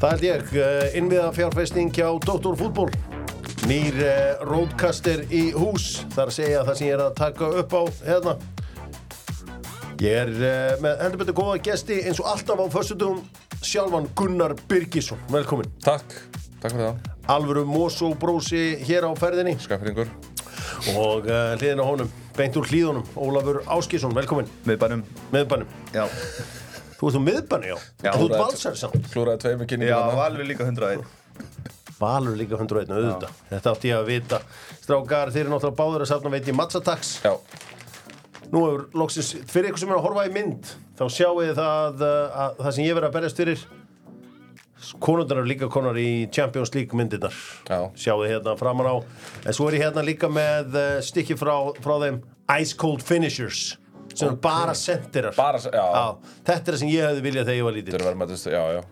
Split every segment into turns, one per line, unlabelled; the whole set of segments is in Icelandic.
Það held ég, eh, innviða fjárfesting hjá Dr. Fútból. Nýr eh, roadcaster í hús, þar segja það sem ég er að taka upp á hérna. Ég er eh, með heldur betur góða gesti eins og alltaf á föstudum, sjálfan Gunnar Birgisson, velkomin.
Takk, takk fyrir það,
Alvöru Mosó brósi hér á ferðinni
skafringur
og uh, hliðin á honum, beint úr hlíðunum, Ólafur Áskísson, velkomin,
miðbænum
miðbannum.
já,
Þú ert úr miðbanni, já, en þú
Já,
ert
Ólafur-
valsar samt.
Klúraði tveimur
já
kynningum þarna.
alveg líka 101
Valur líka 101, auðvitað. Þetta átti ég að vita. Strákar, þeir eru náttúrulega báður að safna veit í mattsataks.
Já,
Nú hefur loksins, fyrir ykkur sem er að horfa í mynd, þá sjáu þið það uh, að það sem ég verið að berjast fyrir. Konundar eru líka konar í Champions League myndirnar.
Já.
Sjáu þið hérna framan á. En svo er ég hérna líka með uh, stikki frá, frá þeim Ice Cold Finishers, sem eru bara sendirar.
bara, s- já,
Já, þetta er það sem ég hefði viljað þegar ég var
þetta
lítill.
eru verðmættist, já, já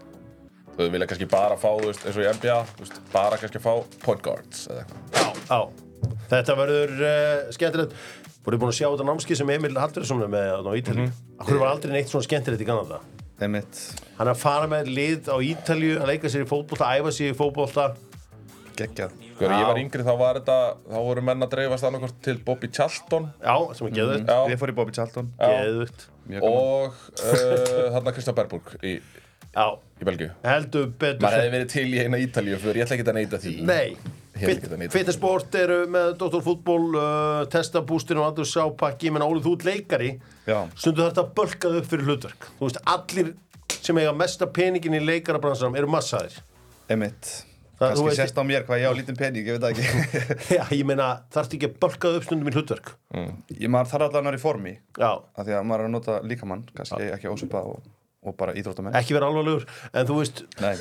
Þú vilja kannski bara fá, þú veist, eins og í NBA, þú veist, bara kannski fá point guards eða eitthvað
Já, þetta verður uh, skemmtilegt Voruð búin að sjá þetta námskið sem Emil Halldursson er með þarna á Ítalíu
Mhm.
mm -hmm. Akkur var aldrei neitt svona skemmtilegt í Kanada
einmitt,
Hann er að fara með lið á Ítalíu að leika sér í fótbolta, æfa sér í fótbolta
geggjað
Þegar ég var yngri þá var þetta, þá voru menn að dreifast annarkort til Bobby Charlton
Já, sem er geðvögt
Mhm. Já,
við fórum í Bobby Charlton
Geðvögt
Mjög gaman.
og uh, þarna Kristján Berburg í,
Já,
í Belgíu
heldur betur
Maður hefði verið til í eina Ítalíu fyrir, ég ætla ekki að neyta því
Nei,
Hefði ekki þetta neitt.
fitnessport eru með Dr. Fútból, uh, testabústin og aldur sápakki, ég menna Ólið, þú ert leikari
Já.
stundu þarf þetta að bölka þau upp fyrir hlutverk Þú veist, allir sem eiga mesta peningin í leikarabransanum eru massaðir
einmitt
Það- þú
kannski
veist-
sérst á mér hvað ég á lítinn pening, ég veit það ekki
Já, ég meina, þarftu ekki að bölka þau upp stundum í hlutverk
ég maður þarf allan að vera í formi
Já,
af því að maður er að nota líkamann, kannski ekki ósuppa og, og bara íþróttamenn
ekki vera alvarlegur En þú veist,
nei,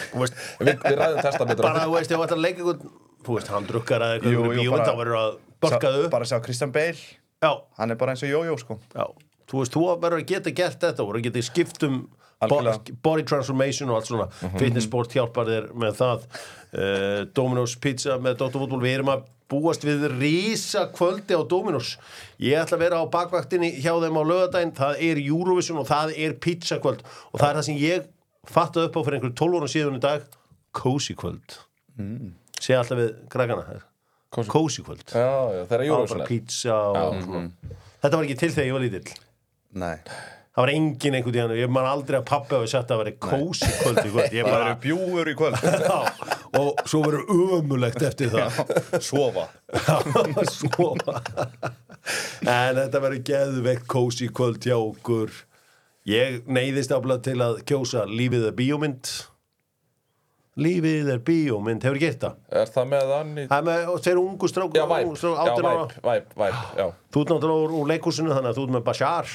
þú veist
Við, við ræðum testa betur
bara, þú veist, ef þú ætlar að leika einhvern Þú veist, hann drukkar eða eitthvað
Jú,
jú, jú,
jú,
bíómynd,
bara-
þá verður að bölka þau
Sá-
upp
bara sjá Christian Bale,
Já,
hann er bara eins og jójó sko
já Þú veist, þú verður að geta gert þetta Þú verður að geta skipt um bo-
Algjörlega.
body transformation og allt svona Fitnessport hjálpar þér með það uh, Dominos Pizza með Dr. Fútbol Við erum að búast við rísa kvöldi á Dominos Ég ætla að vera á bakvaktinni hjá þeim á laugardaginn Það er Eurovision og það er pizza kvöld Og það er það sem ég fattaði upp á fyrir einhverjum 12 ára síðan í dag Cozy kvöld mm. Segja alltaf við krakkana
Kósí-
Cozy kvöld
Já, já,
Það
það er
var bara
Eurovision
pizza og svona Þetta var ekki til þegar ég var lítill
nei,
Það var engin einhvern tíðan, ég man aldrei að pappi hafi sagt að það væri kósi kvöld í kvöld, ég
það
bara,
eru bjúur í kvöld
já, og svo verður ömulegt eftir það,
sofa
já, svo, en þetta verður geðveikt kósi kvöld hjá okkur, ég neyðist aflað til að kjósa lífið er bíómynd, lífið er bíómynd, hefur gert það,
Er það með hann í...
það er með, og þeir eru ungu stráku,
Já, væp,
ungu stráku,
já,
18 ára,
væp, væp, væp, já
þú ert náttúrulega úr, úr leikúsinu þannig að þú ert með Bashar,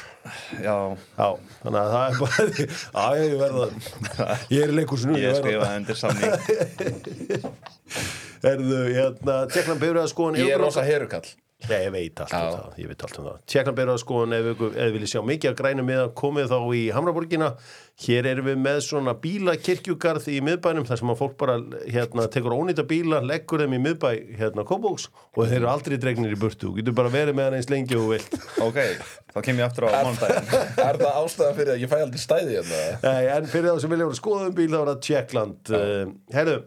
já,
Já, þannig að það er bara Já, ég verða Ég er í leikursinu
ég skrifaði undir samning
Erðu, hérna, Tjekkland bifræðaskoðan
Ég er rosa herukall
Nei, ég veit allt um
Já.
það, ég veit allt um það Tjekkland bifræðaskoðan, ef ykkur- ef þið viljið sjá mikið að grænum miðan komið þá í Hamraborgina Hér erum við með svona bílakirkjugarð í miðbænum þar sem að fólk bara, hérna, tekur ónýta bíla leggur þeim í miðbæ, hérna, kóbóks og þeir eru aldrei dregnir í burtu Þú getur bara verið með hann eins lengi og þú vilt
ok, þá kem ég aftur á mánudaginn
Er það ástæðan fyrir að ég fæ aldrei stæði hérna?
Nei, en fyrir þá sem vilja voru skoðum um bíl þá var það Tjekkland uh, Herðu,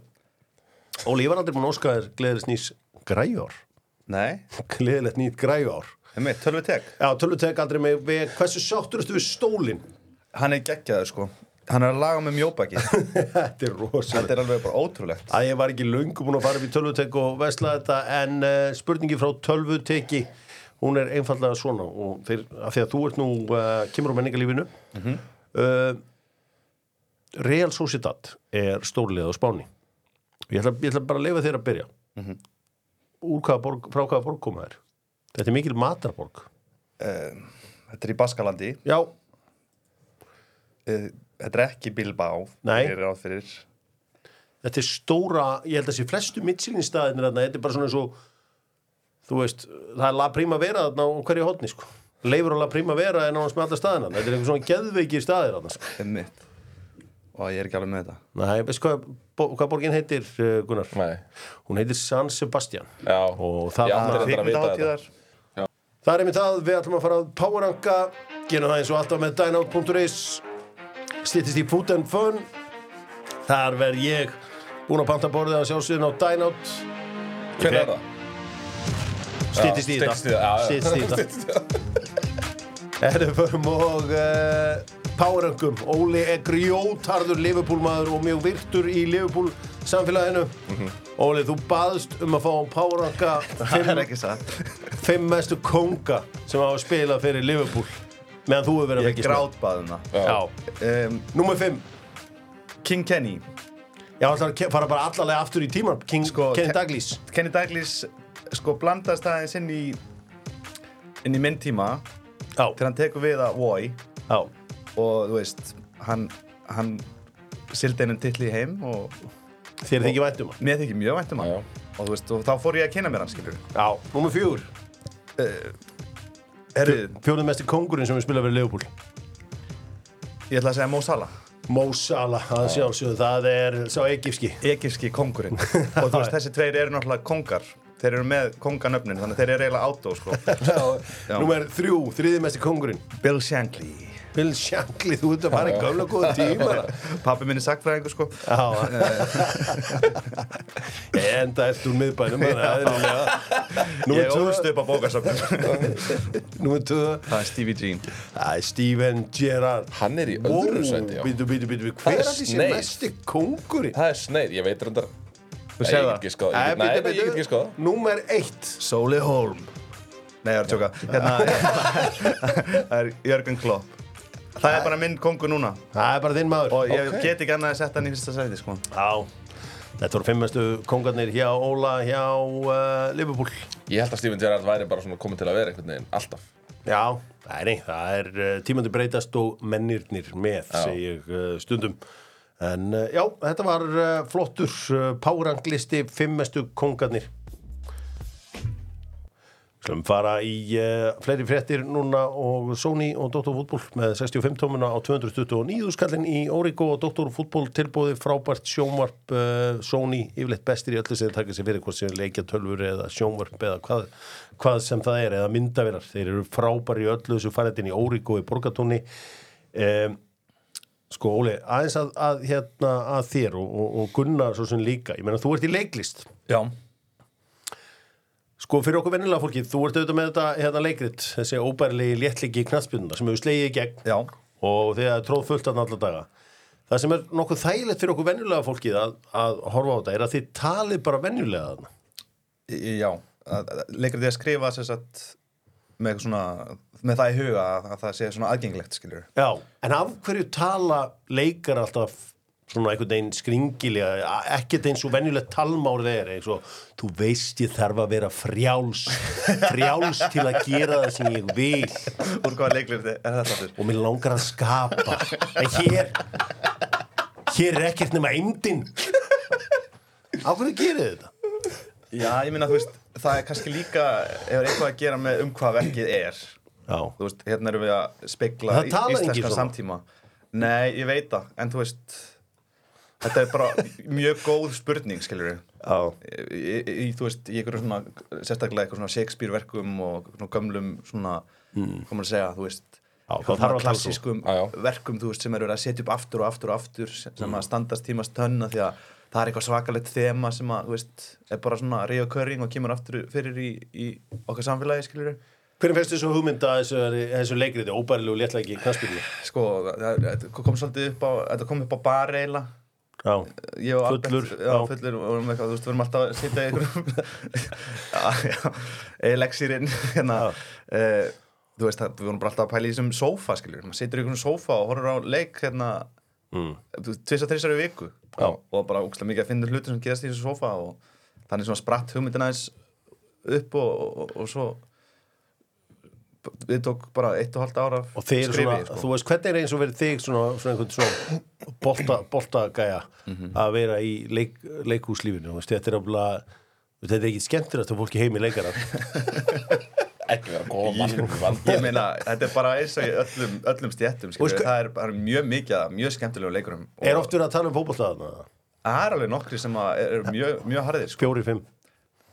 Óli, ég var aldrei búin að óska þér gleðilegt nýs græjár
nei,
Gleðilegt nýtt græjár
einmitt, tölvi tek
Já, tölvutek aldrei með, við, hversu sátturastu við stólinn?
hann er geggjaður sko hann er að laga með mjóbaki þetta
Þetta er rosalegt
er alveg bara ótrúlegt
að ég var ekki löngu búin að fara upp í tölvutek og vesla þetta en uh, spurningi frá tölvuteki hún er einfallega svona og fyrir, af því að þú ert nú uh, kemur á menningarlífinu mm Real Sociedad er stórlega á Spáni ég ætla, ég ætla bara að leifa þér að byrja úr hvaða borg, frá hvaða borg koma þær þetta er mikil matarborg
um, þetta er í Baskalandi
já,
uh, þetta er ekki Bilbao
Nei.
ég er ráð fyrir
þetta er stóra ég held að sé flestu mittsilninstaðinir þarna þetta er bara svona eins og þú veist, það er La Primavera þarna á hverju hotni sko leifur á La Primavera en á hans með alla staðina þetta er einhver svona geðveikir staðir þarna sko.
einmitt og ég er ekki alveg með þetta
Nei, veist hvað, bo- hvað borgin heitir eh, Gunnar?
Nei
Hún heitir San Sebastian
Já
Og það-
Ég átti reyndar að vita þetta
kvikmyndahátíðar
Það er einmitt það, við ætlum að fara að poweranka gerum það eins og alltaf með dynout.is stýttist í food and fun Þar verð ég búin að panta borðið að sjálfsögðin á Dynout
Hvernig er það?
Stýttist í
Já,
þetta
styttist í það, já, já.
Styttist í þetta Erðu förum og uh, Poweröngum, Óli er grjótarður Liverpool-maður og mjög virtur í Liverpool samfélaginu Óli, þú baðst um að fá Powerönga
Það er
fimm,
ekki satt
fimm mestu konga sem hafa spilað fyrir Liverpool meðan þú hefur verið að
Ég
fylgjast með.
grátbaðum það
Já.
Já,
um,
Númer 5
King Kenny
Já, ætlar að ke- fara bara allalega aftur í tíman King,
Sko,
Ken
te-
Douglas
Kenny Douglas sko blandast aðeins inn í inn í minn tíma
Já,
þegar hann tekur við að Voy
já,
og þú veist, hann, hann sildi henni titli í heim og
þér þykir vænt um hann
mér þykir mjög vænt um hann
Já.
og þú veist, og þá fór ég að kynna mér hann, skilur
Já, númer fjögur
Herru,
Fjóðum mesti kongurinn sem við spila fyrir Leopold
ég ætla að segja Mo Salah
Mo Salah, að sjálfsögðu, það er sá egypski
Egilski kongurinn og þú veist, þessi tveir eru náttúrulega kongar þeir eru með konganöfnin, þannig að þeir eru eiginlega átó, sko Já.
Númer þrjú, þriði mesti kongurinn
Bill Shankly
Bill Shankly, þú ert að fara í gamla góða tíma
Pappi minn er sagfræðingur, sko
Já Enda eftir úr miðbænum þannig að eðlilega.
Ég
Númer
ólst
tvö,
upp á bókasöfnum
númer tvö
Það er Stevie Jean
Það er Steven Gerrard
Hann er í öðru sæti, já.
Býtu, býtu, býtu,
Það
hver
er
er þessi
sneið.
mesti kongurinn?
Það er sneið, ég veit reyndar
Þú
Nei,
séð
ég get
það?
ekki skoða ég get- Nei, nei, ég get ekki skoða
Númer eitt
Sóli Holm Nei, ég er að tjóka Hérna, það er Jörgen Klopp Það er bara minn kongu núna
Það er bara þinn maður
Og ég
Ok.
get ekki annað að setja hann í fyrsta sæti, sko
Já, þetta voru fimmestu kongarnir hjá Óla, hjá uh, Liverpool
Ég held að Steven Gerrard væri bara svona komið til að vera einhvern veginn Alltaf
Já, það er, nei, það er uh, tímandi breytast og mennirnir með, segi ég uh, stundum En uh, já, þetta var uh, flottur uh, páranglisti fimmestu kongarnir Slum fara í uh, fleiri fréttir núna og Sony og Dr. Fútbol með 65 tómuna á 229 skallin í Origo og Dr. Fútbol tilbúði frábært sjónvarp uh, Sony yfirleitt bestir í öllu sem þeir taka sér fyrir hvort sem leikja tölfur eða sjónvarp eða hvað, hvað sem það er eða myndavirar þeir eru frábæri í öllu þessu fariðin í Origo í Borgatúni um, Sko Óli, aðeins að, að, hérna, að þér og, og, og Gunnar svo sem líka, ég meina þú ert í leiklist
Já
Sko fyrir okkur vennilega fólki, þú ert auðvitað með þetta hérna leikrit, þessi óbærilegi léttliki knastbjörnuna sem hefur slegið í gegn
Já
og þegar er tróð fullt að alla daga. Það sem er nokkuð þægilegt fyrir okkur vennilega fólkið að, að horfa á þetta er að þið talið bara vennilega þarna.
Í- Já Að- að- Leikur því að skrifa sér satt með, eitthvað svona, með það í huga að, að það sé svona aðgengilegt, skilur
Já, en af hverju tala leikar alltaf svona einhvern veginn skringilega, a- ekkert eins og venjulegt talmár þeir, eins og þú veist ég þarf að vera frjáls, frjáls til að gera það sem ég vil.
Úr hvaða leikur er þetta þáttur?
og mér langar að skapa en hér hér er ekkert nema eimdin á hverju gerir þið þetta?
Já, ég minna, þú veist, það er kannski líka hefur eitthvað að gera með um hvað verkið er
Já.
þú veist, hérna erum við að spegla
Það
í-
talar enginn
íslenskan
svona.
samtíma Nei, ég veit það, en þú veist þetta er bara mjög góð spurning, skilur við
Já.
í, í, þú veist, í einhverjum svona sérstaklega eitthvað svona Shakespeare verkum og svona gömlum svona, hvað maður að segja, þú veist
Mm. Já,
eitthvað
það þarf
svona
að tala svo.
klassískum
Já, já.
verkum, þú veist, sem eru verið að setja upp aftur og aftur og aftur sem mm. að standast tímast tönna því að það er eitthvað svakalegt þema sem að, þú veist, er bara svona reoccurring og kemur aftur fyrir í, í okkar samfélagi, skilur við
hvernig fyrst þessu hugmynda þessu, þessu leikriti, óbærilegu léttlæki knastbyrni?
sko, það, það kom svolítið upp á þetta kom upp á bar eiginlega
Já.
Ég og Albert-
Fullur,
já,
já.
fullur og vorum eitthvað, þú veist, við erum alltaf að sitja í einhverjum leksirinn hérna eh, þú veist, það, við vorum bara alltaf að pæla í þessum sófa, skiljur, maður situr í einhverjum sófa og horfir á leik hérna mm. tvisa þrissari viku
Já.
og bara úkslega mikið að finna hluti sem geðast í þessum sófa og þannig svona spratt hugmyndina eins upp og, og, og svo við tók bara eitt og halvt ára
og þeir eru svona,
sko.
þú veist, hvernig er eins og verið þig svona, svona einhvern svona bolta, boltagæja að vera í leik, leikhúslífinu, þú veist, þetta er alveg þetta er ekki skemmtilegt að fólki heimi leikara
Ekki vera góða mannum í
Ég
vandi
meina, þetta er bara eins og í öllum, öllum stjættum,
Og
skilur
sko-
það er, það er mjög mikið, af mjög skemmtilegum leikurum og
er oft verið að tala um fótbolltaðana
það er alveg nokkri sem að eru mjög, mjög harðir, sko
fjóri, fimm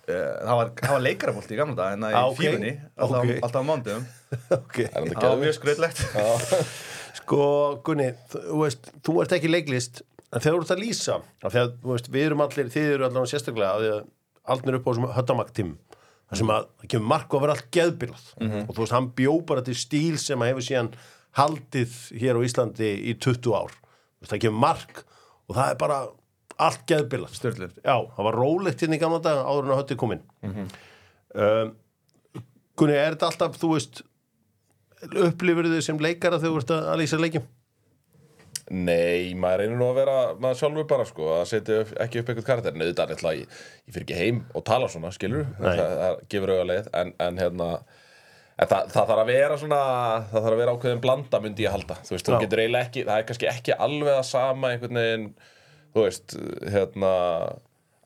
Eh, Það var, það var leikarabolt í gamla dag, en það
Ah,
í
ok.
fífunni, alltaf,
Ok.
alltaf á mándum
okay.
Það
Það var mjög skröðlegt
Sko, Gunni, þú þú veist, þú ert ekki í leiklist en þegar þú ert að lýsa af því að þú veist, við erum allir, þið eru allavega sérstaklega af því að aldnir upp á þessum höttamaktim þar sem að það kemur mark og verið allt geðbyrð og þú veist, hann bjó bara til stíl sem að hefur síðan haldið hér á Íslandi í 20 ár Þú veist, það kemur mark og það er bara allt geðbyrð
Sturlun
já, það var rólegt hérna í gamla dag áður en að höttið kominn um, Gunni, er þetta alltaf, þú veist upplifur þau sem leikara þegar þú ert að að lýsa leikjum
Nei, maður reynir nú að vera maður sjálfur bara sko, að setja upp, ekki upp eitthvað karakter en auðvitað er alltaf, ég, ég fyrir ekki heim og tala svona, skilur,
Nei.
það, það gefur auga leið, en, en hérna en það, það þarf að vera svona það þarf að vera ákveðin blanda myndi ég halda þú veist, þú
Já.
getur eiginlega ekki, það er kannski ekki alveg að sama einhvern veginn þú veist, hérna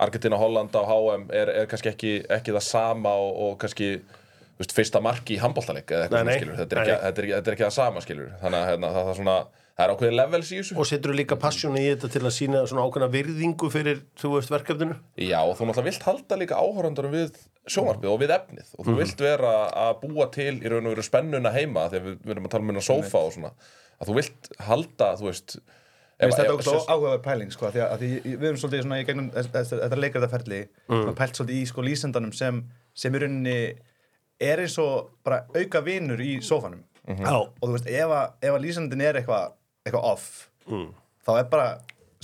Argentina, Hollanda og HM er, er kannski ekki, ekki það sama og, og kannski þú veist, fyrsta marki í handbóltaleik
Nei,
eða eitthvað svona
nei.
skilur, þetta er,
Nei,
ekki, þetta, er, ekki- þetta er ekki það sama skilur þannig að hérna, það, það, er svona, það er ákveðin levels í þessu
og setur þú líka passjónu í þetta til að sína svona ákveðna virðingu fyrir, þú veist, verkefninu
Já, og þú náttúrulega vilt halda líka áhorrandurum við sjónvarpið og við efnið og þú
Mhm.
vilt vera að búa til í raun og veru spennuna heima þegar við, við erum að tala um hérna sófa og svona að þú vilt halda, þú veist
Mér finnst þetta okkur áhugaverð pæling sko, því að, að því, við erum svolítið svona í gegnum þess- þess- þetta leikrætaferli mm. pælt svolítið í sko, lýsendanum sem, sem í rauninni er eins og bara auka vinur í sófanum
Já,
og þú veist, ef að, ef að lýsendin er eitthvað eitthva off
Mm.
þá er bara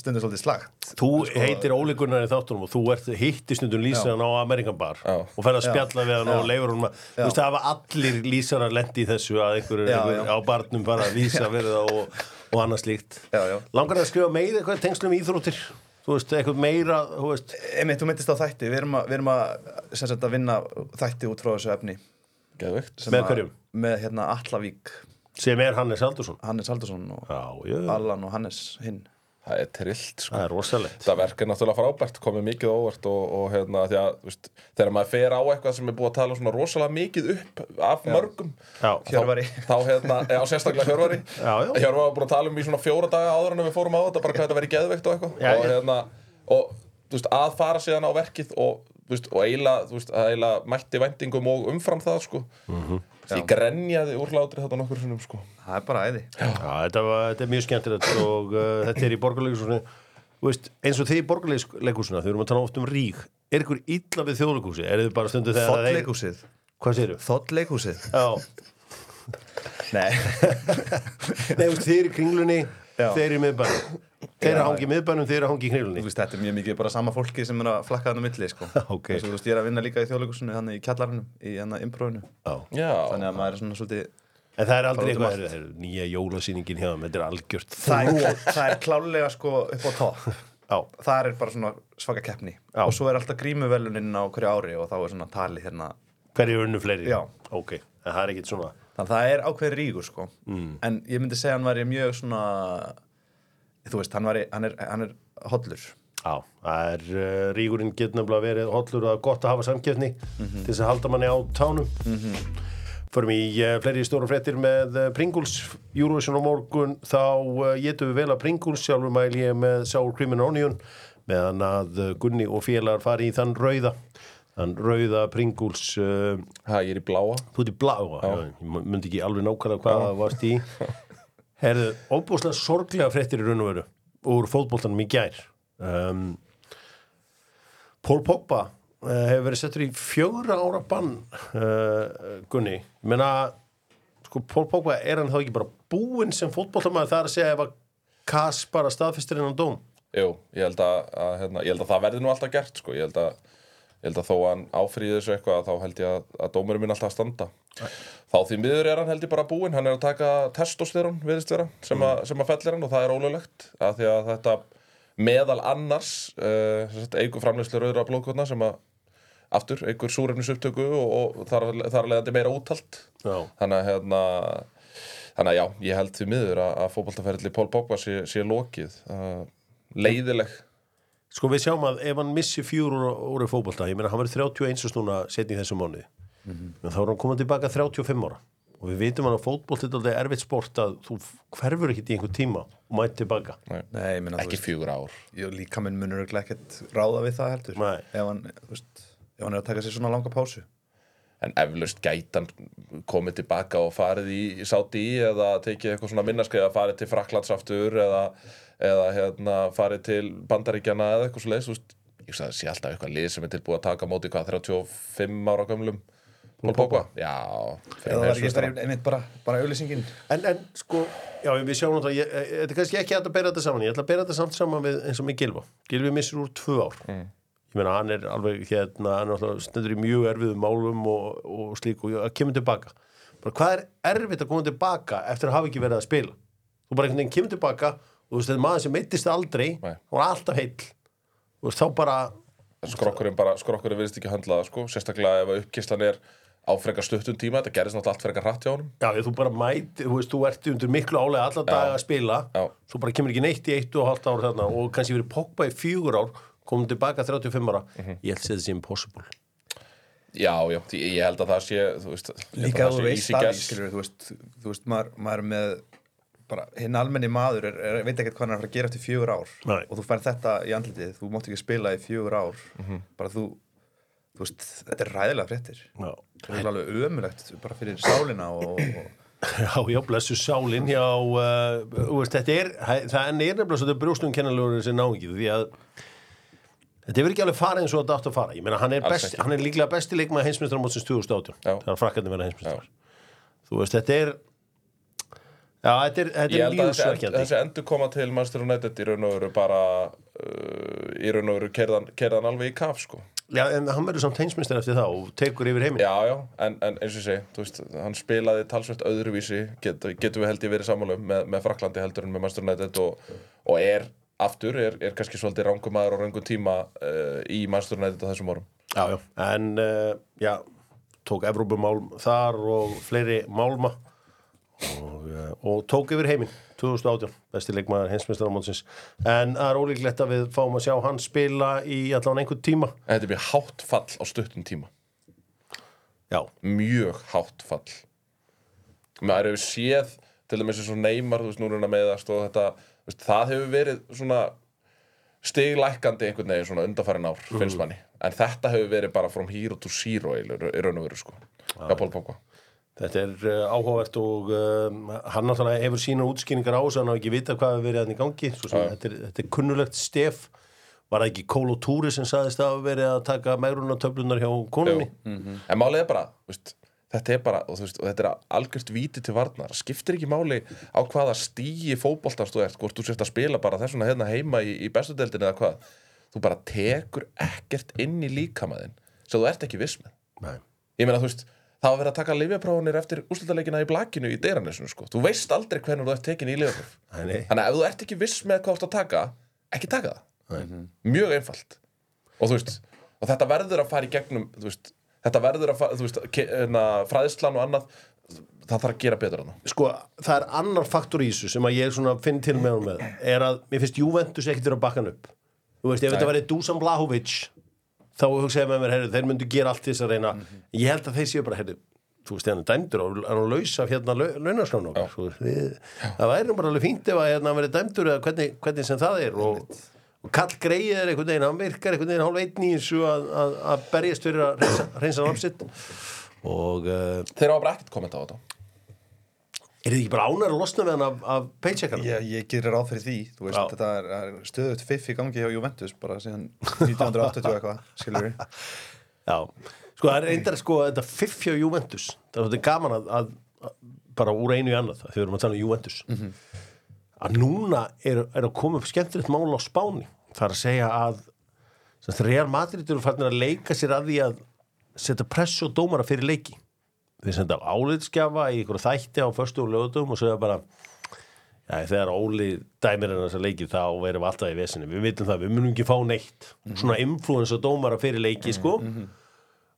stundum svolítið slagt
þú heitir Óli Gunnar í þáttunum og þú ert hittistundum lýsaðan á Amerikan Bar
Já.
og fer að spjalla við hann
Já.
og leifur honum að þú
Já.
veist, það hafa allir lýsarar lendi í þessu að einhverju
Já,
einhver
já.
á barnum bara að lýsa verið og, og annað slíkt
Já, já.
Langar það að skrifa meira eitthvað í tengslum við íþróttir? Þú veist, eitthvað meira, þú veist
Emi, þú myndist á þætti, við erum að, við erum að, sem sagt, að vinna þætti út frá þessu efni
Geðveikt
sem
Með
að-
hverjum?
Með hérna Allavík,
sem er Hannes Aldursson
Hannes Haldursson og
Já, jö,
Allan og Hannes hinn
Það er trillt, sko
það er rosalegt
Þetta verk er náttúrulega frábært, komið mikið á óvart og, og hérna, því að, þú veist, þegar maður fer á eitthvað sem er búið að tala svona rosalega mikið upp af mörgum
Já.
þá-
Hjörvari.
Þá, hérna, já, sérstaklega Hjörvari
Já, já.
Hjörvari var búin að tala um í svona fjóra daga áður en við fórum á þetta, bara hvað þetta verið geðveikt og eitthvað
Já,
og,
já.
hérna, og, þú veist, að fara síðan á verkið og, þú veist, og eiginlega, þú veist, að eiginlega mætti vendingum og umfram það, sko mm
Mhm.
Ég grenjaði úr hlátri þetta nokkur sinnum, sko
Það er bara æði
Já, þetta, var, þetta er mjög skemmtilegt og uh, þetta er í borgarleikusinu eins og þið í borgarleikusina þau erum að tala oft um rík er ykkur illa við þjóðleikusi? Er þið bara stundu þegar að þeir-
Þottleikhúsið
Hvað segirðu?
Þottleikhúsið
Já,
Nei,
nei, þú veist, þið eru í kringlunni
Já.
þeir eru í miðbænum þeir eru að hangi í miðbænum, þeir eru að hangi í
þú
kringlunni
veist, þetta er mjög mikið bara sama fólki sem er að flakka hann á milli, sko
Ok.
Þessu, Þú veist, ég er að vinna líka í þjóðleikhúsinu, hann í kjallarunum, í hann að impróinu
Já.
Já,
Þannig að maður er svona svolítið
En það er aldrei
Bara út um
eitthvað, það er nýja jólasýningin hjá þeim, þetta er algjört
Það er, það er klálega, sko, upp á topp
Já,
Það er bara svona svaka keppni
Já.
Og svo er alltaf grímuvelunin á hverju ári og þá er svona talið hérna
hverju unnu fleiri?
Já.
Ok, en það er ekkit svona
Þannig að það er ákveðin ríkur sko En ég myndi segja hann væri mjög svona Þú veist, hann, væri, hann, er, hann er hollur
Já, það er uh, ríkurinn getur nefnilega verið hollur og það er gott að hafa samkeppni til þess að halda manni á tánum. Förum í uh, fleiri stóra fréttir með uh, Pringles, Eurovision á morgun, þá uh, getum við vel að Pringles, sjálfur mæl ég með Sour Cream and Onion, meðan að uh, Gunni og félagar fari í þann rauða, þann rauða Pringles, uh,
ha, ég er í bláa
þú ert í bláa, já. ég mu- myndi ekki alveg nákvæmlega hvað það varst í. Herðu, óbúslega sorglega fréttir í raun og veru úr fótboltanum í gær. Um, Pól Pogba uh, hefur verið settur í fjögra ára bann uh, Gunni Ég meina, sko, Pól Pogba er hann þá ekki bara búinn sem fótboltamaður það er að segja ef að Kass bara staðfistir innan dóm
Jú, ég held að, að, hérna, ég held að það verði nú alltaf gert sko. ég, held að, ég held að þó að hann áfríði þessu eitthvað þá held ég að, að dómurum minn alltaf að standa Þá því miður er hann held ég bara búinn hann er að taka testosterón viðist vera sem, að, sem að fellir hann og það er ólöglegt að því að þetta meðal annars uh, eigur framleyslu rauðra blóðkotna sem að aftur eigur súrefnis upptöku og, og þar, þar leðandi meira úthald
Já.
þannig að hérna Þannig að já, ég held því miður að, að fótboltaferðli Pól Pogba sé, sé lokið uh, leiðileg
Sko við sjáum að ef hann missi fjúr úr í fótbolta, ég meina hann verið 31 og snúna setni í þessum mánuði en þá er hann komað tilbaka 35 ára og við vitum hann að fótbolta er aldrei erfitt sport að þú hverfur ekkert í einhver tíma og mætt tilbaka
Nei, ég meina,
ekki fjögur ár
þú veist Líka minn munur örugglega ekkert ráða við það heldur
Nei.
ef hann, þú veist, ef hann er að taka sér svona langa pásu
en eflaust gætan komið tilbaka og farið í, í sáti í eða tekið eitthvað svona minnaskrið að farið til Fraklands aftur eða, eða hérna, farið til Bandaríkjana eða eitthvað svo leiðis ég sagði, sé alltaf eitthvað lið sem er tilbúið að taka á móti hvað 35 ára gömlum Pól Pókva? Já, fyrir
það var ekki
heimsmeistara.
bara, einmitt bara, bara auðlýsingin
En, en sko, já, við sjáum þetta, ég- eh, þetta er kannski ekki hægt að bera þetta saman, ég ætla að bera þetta samt saman við eins og með Gilva. Gilvi missir úr tvö ár. Ég meina, hann er alveg hérna, hann er alltaf stendur í mjög erfiðum málum og, og slík og að kemur tilbaka. Bara hvað er erfitt að koma tilbaka eftir að hafa ekki verið að spila? Þú bara einhvern veginn kemur tilbaka og þú veist, þetta er maður sem meittist aldrei,
Nei.
hann var alltaf heill. Þú veist, þá bara,
skrokkurinn bara, skrokkurinn virðist ekki höndla það sko, sérstaklega ef að uppkyslan er á frekar stuttum tíma, þetta gerðist náttúrulega allt frekar hratt hjá honum
já, þú bara mæti, þú veist, þú ert undir miklu álega alla daga að spila.
Já,
svo bara kemur ekki neitt í eitt og halvt ár þarna og kannski verið Pogba í fjögur ár komum tilbaka 35 ára
Mhm.
ég held að þetta sé impossible
já, já ég, ég held að það sé, þú veist ég held
líka
að
að þú
sé
veist
easy
það
guess.
skilur, þú veist, þú veist maður, maður er með bara hinn almenni maður er, er, veit ekkert hvað hann er að fara að gera eftir fjögur ár
Nei.
og þú fær þetta í andlitið, þú mátt ekki spila í fjögur ár bara þú, þú veist, þetta er ræðilega fréttir
já,
það er alveg ömulegt bara fyrir sálina og, og
já, já blessu sálin já, uh, þú veist, þetta er hæ- það er nefnilega svo þetta brjóstum kennalegur sem ná ekki því að þetta hefur ekki alveg farið eins og þetta átt að fara ég meina, hann er,
Alls
best,
ekki.
hann er líklega besti leikmaður heimsmyndstrar mótsins 2018
Já.
þegar frakkarnir verða heimsmyndstrar þú veist, þetta er já, þetta er, þetta
Ég
er
held að þessi,
lífsverkjandi
þessi endur koma til Manchester United í raun og veru bara uh, í raun og veru kerðan, kerðan alveg í kaf sko.
já, en hann verður samt heimsmyndstrar eftir það og tekur yfir heiminn
Já, já, en, en eins og ég segi, þú veist, hann spilaði talsvert öðruvísi, get, getum við held ég verið samanlum með, með Fraklandi heldur en með Manchester United og, og er aftur, er, er kannski svolítið rangum maður og rangum tíma uh, í Manchester United á þessum orum.
Já, já. En, uh, já, tók Evrópumál þar og fleiri málma og, uh, og tók yfir heiminn 2018, besti leikmaður hinsmestaramátsins. En það er ólíklegt að við fáum að sjá hann spila í allan einhvern tíma.
En þetta er mjög hátt fall á stuttum tíma.
Já,
Mjög hátt fall. Maður hefur séð, til dæmis eins og neymar, þú veist, núna meðast og þetta, þú veist, það hefur verið svona stiglækandi einhvern veginn svona undanfærin ár, finnst manni. En þetta hefur verið bara from hero to zero í í raun og veru, sko. Já, Pól Pókva.
þetta er uh, áhugavert og um, hann náttúrulega hefur sína útskýringar á þess að hann hafi ekki vita hvað hefur verið hann í gangi. Svo sem þetta er, þetta er kunnulegt stef. Var það ekki Kólo Túri sem saðist að hafa verið að taka megrunartöflunar hjá konunni?
En málið er bara, þú veist, þetta er bara, og, þú veist, og þetta er algjört víti til varnar. Það skiptir ekki máli á hvaða stíi fótboltast þú ert, hvort þú sért að spila bara þessuna hérna heima í, í bestudeldinu eða hvað. Þú bara tekur ekkert inn í líkamaðinn sem þú ert ekki viss með.
Nei.
Ég meina, þú veist, það var verið að taka lifjaprófunir eftir úrslutaleikina í blakinu í deiranesinu, sko. Þú veist aldrei hvernig þú ert tekin í lifjapróf.
Nei, nei.
Þannig að ef þú ert ekki viss með hvað þú ert að taka, ekki taka það
Nei.
mjög einfalt og þú veist, og þetta verður að fara í gegnum þú veist, þetta verður að fara, þú veist ke- hérna, fræðslan og annað það þarf að gera betur hann
sko, það er annar faktor í þessu sem að ég svona finn til með hún með er að mér finnst Juventus ekkert vera að bakka hann upp þú veist, ef þetta væri Dusan Blahovic þá hugsaði ég með mér, heyrðu, þeir myndu gera allt til þess að reyna, ég held að þeir séu bara heyrðu, þú veist, hann er dæmdur og er hann laus af hérna lau- launaskránu okkar, þú veist, við- það væri nú bara alveg fínt ef að hérna hann verið dæmdur eða hvernig, hvernig sem það er og, og kall greið er einhvern veginn, hann virkar einhvern veginn hálf einn í þessu að, að, að berjast fyrir að reynsa, reynsa námsitt og uh,
þeir hafa bara ekkert kommenta á þetta
er þið ekki bara ánæður að losna við hann af, af paycheckanum?
ég, ég gerir ráð fyrir því þú veist,
Já.
þetta er, er stöðut fiff í gangi hjá Juventus bara síðan 1980 og eitthvað, skilur við
Já, sko það er eindar sko þetta fiffja Juventus, það er svolítið gaman að, að, að bara úr einu í annað þegar við erum að tala um Juventus að núna er, er að koma upp skemmtilegt mál á Spáni, það er að segja að sem sagt, Real Madrid eru farnir að leika sér að því að setja pressu og dómara fyrir leiki þeir senda álitskjafa í ykkur þætti á föstu og lögutum og segja bara Já, þegar Óli dæmir hann þessa leiki þá erum við alltaf í vesinni, við vitum það, við munum ekki fá neitt svona influensa dómara fyrir leiki sko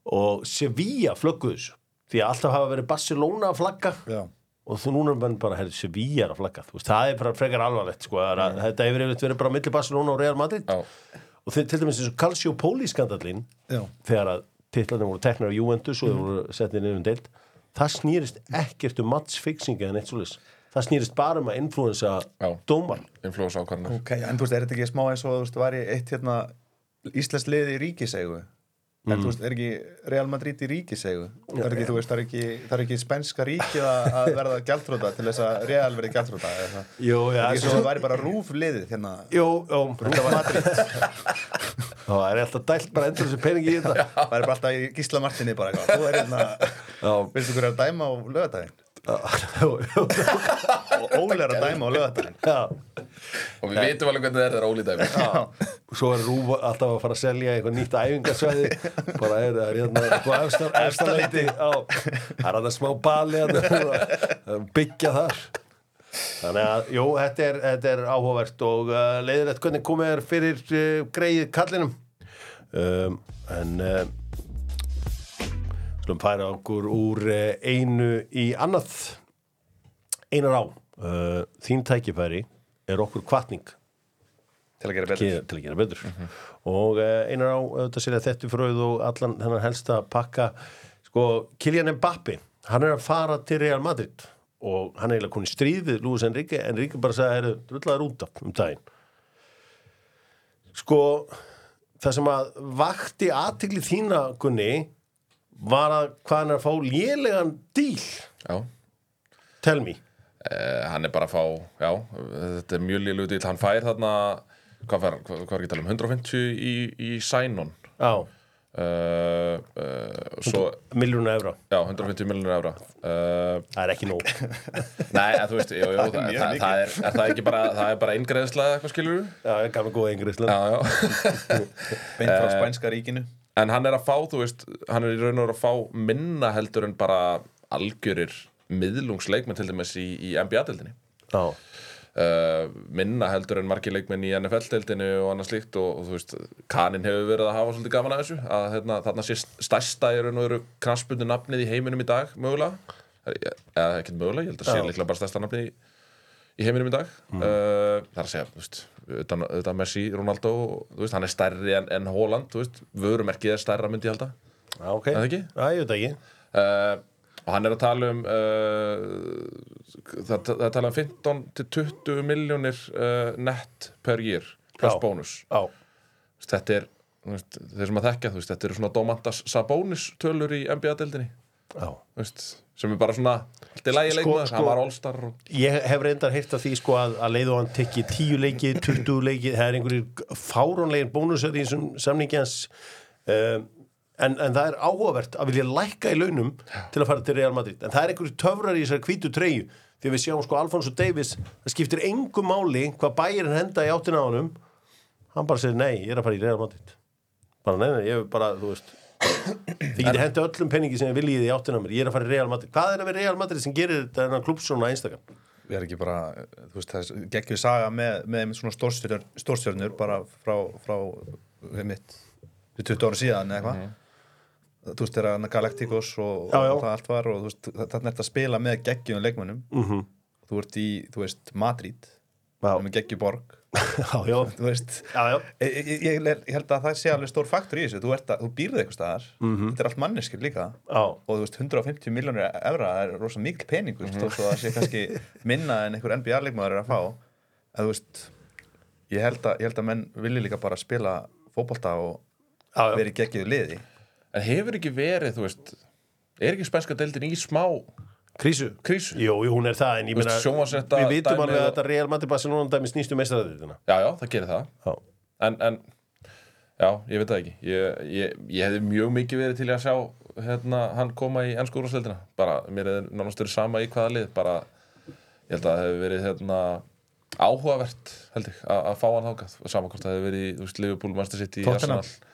og Sevilla flögguðu þessu því að alltaf hafa verið Barcelona að flagga
já
og þú núna er menn bara, herri, Sevilla er að flagga þú veist, það er bara frekar alvarlegt sko, það er að, þetta hefur yfirleitt verið bara milli Barcelona og Real Madrid
Mm. Já.
og þeir, til dæmis eins og Calciopoli skandallinn
Já.
þegar að titlarnir voru teknar af Juventus og þeir
Mm.
voru settið niður um deild það snýrist ekkert um matchfixing eða neitt svoleiðis það snýrist bara um að influensa
Já.
dómar
influensa ákvarðinu
Ok, en þú veist, er þetta ekki smá eins og þú veist, var ég eitt hérna íslensk liði í ríkisegu En
Mm.
þú veist, er ekki Real Madrid í ríkisegu? Er ekki, þú veist, það er ekki, það er ekki spænska ríkið að að verða gjaldróta til þess að Real verði gjaldróta? eða það?
Jú, já,
Það er ekki svo
svo-
það væri bara rúfliðið hérna.
Jú, jú, þetta var Madrid Það er alltaf dælt bara endur þessu peningi í þetta
Það væri bara alltaf í Gísla Martini bara eitthvað. Þú er hérna,
Já,
vilstu hverju að dæma á lögadaginn?
jú, jú
Og Óli er að dæma á lögadaginn.
Já,
Og við vitum alveg hvernig það er þegar Óli dæmi
svo er Rúf alltaf að fara að selja eitthvað nýtt æfingasvæði bara er það er hérna eitthvað efstar, efstarleiti á, það er hann smá bali hérna, byggja þar þannig að, jú, þetta er, þetta er áhugavert og uh, leiðilegt hvernig komið er fyrir uh, greið kallinum um, en uh, slum færa okkur úr uh, einu í annað einar á uh, þín tækifæri er okkur kvatning
Til að gera betur.
Ge- til að gera betur og uh, einar á auðvitað sér að þetta fröð og allan hennar helsta pakka sko, Kylian Mbappi hann er að fara til Real Madrid og hann er eiginlega konið stríðið Lúis Enrique en Enrique bara sagði að það eru drullar út af um daginn sko það sem að vakti aðtikli þína Gunni var að hvað hann er að fá lélegan díl
Já
tell me
eh, Hann er bara að fá, já, þetta er mjög lílu dýl Hann fær þarna, hvað fær hann, hvað, hvað er ekki að tala um 150 í, í Sænon
á,
uh, uh, Svo,
miljónu evra
já, 150 miljonur evra uh,
það er ekki nóg
Nei, en þú veist, jú, jú, það, það,
Mjög
það, er, er það ekki bara, það er bara eingreðsla eða eitthvað skilur
já, ég gaf mig góða yngri Ísland
Já, já
Eh.
Beint frá spænska ríkinu.
En hann er að fá, þú veist, hann er í raun og veru að fá minna heldur en bara algjörir miðlungsleikmenn til dæmis í, í NBA-deldinni
já,
uh, minna heldur en margir leikmenn í NFL-deldinu og annað slíkt og, og þú veist, Kanin hefur verið að hafa svolítið gaman að þessu að hérna, þarna sé stærsta er og eru kransbundu nafnið í heiminum í dag mögulega, Eh, eða ekkert mögulega ég held að sé
Já.
líklega bara stærsta nafnið í, í heiminum í dag uh, það er að segja, þú veist, utan, utan Messi, Ronaldo og, þú veist, hann er stærri en, en Holland, þú veist, vörumerkið er stærra myndi ég halda
Já, ok
það ekki?
Já, ég veit ekki
uh, og hann er að tala um uh, það, það er tala um 15 til 20 miljónir uh, net per year plus
Já.
bónus
Já,
þetta er, þú veist, þeir sem að þekka þú veist, þetta eru svona Domantas Sabonis tölur í NBA-deldinni
já.
sem er bara svona, allt er lægi
Sko-
leikmaður
sko-
hann var allstar og
Ég hef reyndar heyrt af því sko að, að leiðu hann tekki tíu leiki, 20 leiki það er einhverjir fárónlegin bónusöð í þessum samningi hans um, en, en það er áhugavert að vilja lækka í launum til að fara til Real Madrid en það er einhverjir töfrar í þessari hvítu treyju því við sjáum sko Alfonso Davis það skiptir engu máli hvað bæirinn henda í áttina á honum hann bara segir nei, ég er að fara í Real Madrid bara nei, nei, ég er bara, þú veist Þið getur hendi öllum peningi sem þið viljið í áttina að mér. Ég er að fara í Real Madrid. Hvað er að vera Real Madrid sem gerir þetta hennar klúb svona einstakann?
Við erum ekki bara, þú veist, það er geggjur saga með, með einmitt svona stórstjörnur, stórstjörnur bara frá, frá við mitt, við 20 ára síðan eða eitthvað. Þú veist, þeirra Galacticos og,
Mhm. Já, já.
og það allt var og þú veist, þarna ert að spila með geggjum leikmönnum. -hmm. Þú ert í, þú veist, Madrid,
Mhm. Já.
með geggjuborg,
Já, já,
þú veist.
já, já.
Ég, ég, ég ég held að það sé alveg stór faktur í þessu, þú, ert að, þú býrðu eitthvað staðar,
Mhm.
-hmm. þetta er allt manneskir líka
Já,
og þú veist 150 miljónir evra það er rosa mikil pening mm -hmm. svo það sé kannski minna en einhver NBA leikmaður er að fá að þú veist ég held að, ég held að menn vilji líka bara spila fótbolta og
Já, já.
verið geggið liði
en hefur ekki verið, þú veist er ekki spænska deildin í smá
krísu.
krísu?
Jú, jú, hún er það, en ég
Þú
meina,
veist, sjónvarpsrétta
við vitum
dæmið
alveg að
og-
þetta Real Madrid Barcelona dæmi snýst um meistaræðitina.
Já, já, það gerir það
Já.
en, en já, ég veit það ekki ég, ég, ég hefði mjög mikið verið til í að sjá hérna, hann koma í ennsku úrvarsleildina bara, mér er nánast verið sama í hvaða lið bara, ég held að það hefði verið hérna, áhugavert held ég, að að fá hann þákað sama hvort það hefði verið, í, þú veist, Liverpool, Master City
Tottenham.
Arsenal,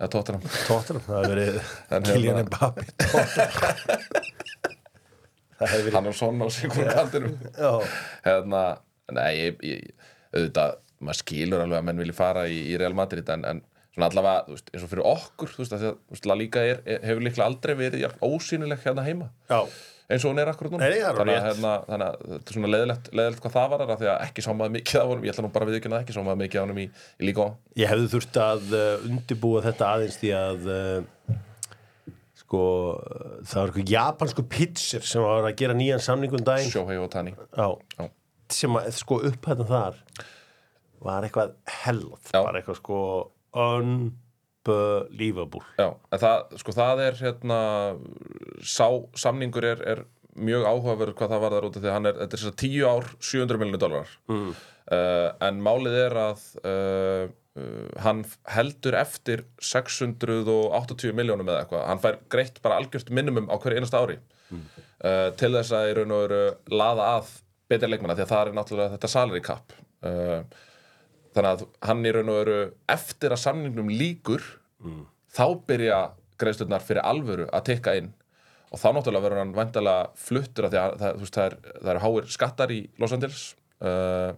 eða Tottenham
Tottenham, það hefur verið
En
Kylian
hérna-
Mbappe.
hann og svona og sigur kaldinum
Já,
hérna, nei, ég, ég, auðvitað maður skilur alveg að menn vilji fara í, í Real Madrid en, en svona allavega, þú veist, eins og fyrir okkur þú veist, að því að, þú veist, La Liga er, er, hefur líklega aldrei verið jafn ósýnileg hérna heima
já,
eins og hún er akkur núna
Nei, það er
þannig, að,
rétt.
hérna, þannig að þetta er svona leðilegt, leðilegt hvað það var að því að ekki sámaði mikið af honum ég ætla nú bara að viðurkenna það, ekki sámaði mikið af honum í, í líka
ég hefði þurft að uh, undirbúa þetta aðeins því að uh, sko, uh, það var eitthvað japansku pitsir sem var að gera nýjan samningum daginn.
Sjóhei og Tani Já.
Já, sem að sko upphættan þar var eitthvað hellot,
Já.
var eitthvað sko unbelievable unbelievable
Já, en það, sko, það er hérna, sá, samningur er, er mjög áhugaverð hvað það varðar út af því að hann er, þetta er þess að 10 ár 700 miljonu dólarar mm. en málið er að uh, uh, hann heldur eftir 680 miljónum eða eitthvað, hann fær greitt bara algjört minimum á hverju einasta ári uh, til þess að í raun og veru laða að betur leikmanna því að það er náttúrulega þetta salary cap uh, þannig að hann í raun og veru eftir að samningnum líkur þá byrja greiðslunar fyrir alvöru að tekka inn og þá náttúrulega verður hann vandalega fluttur af því að það, þú veist, það, er, það eru háir skattar í Los Angeles uh,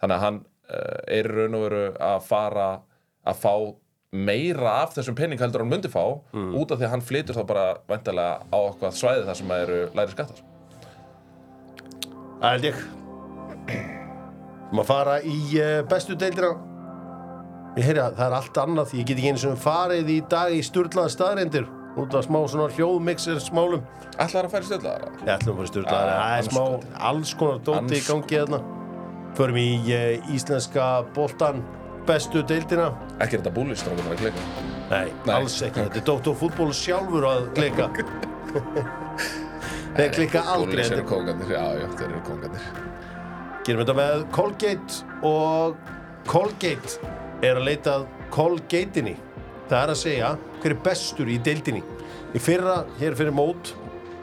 þannig að hann uh, er í raun og veru að fara að fá meira af þessum pening heldur en hann myndi fá út af því að hann flytur þá bara vandalega á eitthvað svæði þar sem eru læri skattar
Það held ég Má fara í eh, bestu deildina Ég heyri að það er allt annað Ég get ekki eins og farið í dag í sturlaða staðreindir út af smá svona hljóðmixer smálum
Ætlar að færi stöðlaðara?
Ég ætlum að fara í sturlaða
Ah,
Það er
alls
smá alls konar dóti í
Alls
gangi þarna Förum í eh, íslenska boltan bestu deildina
Ekki er þetta búlist, þá er þetta að klika
Nei,
Nei.
alls ekki Þetta er Dóttor fútból sjálfur að klika Nei, klika aldrei
Búlist
Þetta
eru kongarnir, já, já, þeir eru kongarnir
Gerum þetta með Colgate og Colgate er að leita að Colgateinni. Það er að segja hver er bestur í deildinni. Í fyrra, hér fyrir mót,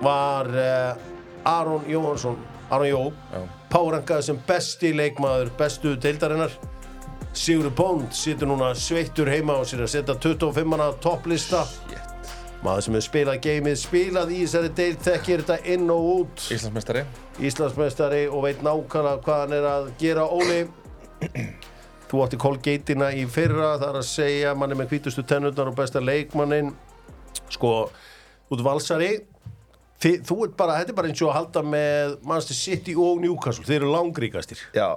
var eh, Aron Jóhansson, Aron Jó,
Já.
párangaði sem besti leikmaður, bestu deildarinnar. Sigur Bond situr núna sveittur heima á sér að setja 25 manna á topplista.
Shit.
Maður sem hefur spilað geimið, spilað í þessari deild, þekkir þetta inn og út.
Íslandsmeistari
Íslandsmeistari og veit nákvæmlega hvað hann er að gera Óli þú átti Colgate-ina í fyrra það er að segja manni með hvítustu tennurnar og besta leikmannin sko, út valsari þi, þú ert bara, þetta er bara eins og að halda með Manchester City og Newcastle þeir eru langríkastir
Já,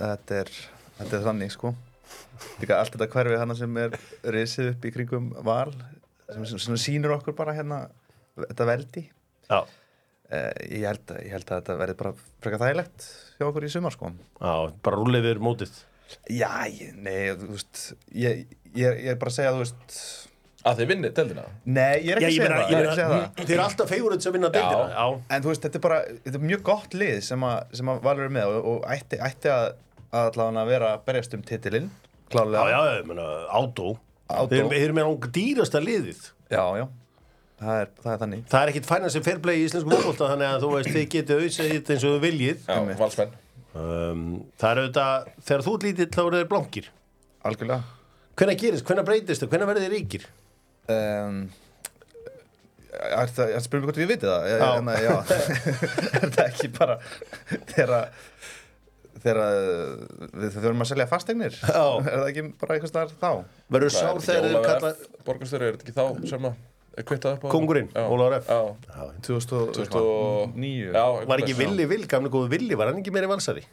þetta er, þetta er þannig sko Líka allt þetta hverfið hana sem er risið upp í kringum val sem, sem, sem sýnir okkur bara hérna þetta veldi
já,
uh, ég, held, að- ég held að þetta verði bara frekar þægilegt hjá okkur í sumar sko
já bara rúlið við mótið
Já, ég, nei, þú veist ég, ég, ég er bara að segja, þú veist
að þið vinni deldina
Nei, ég er
Já, ég
ekki að segja
meina- ég
það ég er ekki að segja
meina,
það
þeir eru alltaf fegurinn sem vinna deildina
Já.
já,
En þú veist, þetta er bara, þetta er mjög gott lið sem að, sem að Valur er með og, og ætti, ætti að, að allavega vera að berjast um titilinn,
já,
klálega
já, ég meina, átó
Auto.
þeir eru- þeir eru með langt dýrasta liðið
Já, já, það er, það er þannig
Það er ekkit fænast sem fairplay í íslensku fólkvólta þannig að þú veist, þið getið auðsæðið þetta eins og þið viljið.
Já,
Einmitt.
valsmenn
Um, það er auðvitað, þegar þú ert lítill þá eru þeir blankir.
Algjörlega
Hvenær gerist, hvenær breytist það, hvenær verður þeir ríkir?
um, Er það, er spurning hvort ég viti það? Já,
Já.
Nei, já. er það ekki bara þegar að- þegar að við þurfum að selja fasteignir
Já.
er það ekki bara einhvers staðar þá?
Verður sár þegar þeir kalla
Borgarstöru, er þetta ekki þá sem að er kvittað upp á
kongurinn,
Já.
Ólafur F.
Já, já
2009
Var ekki
eitthvað,
villi vill, gamlega góðu villi, var hann ekki meiri valsari?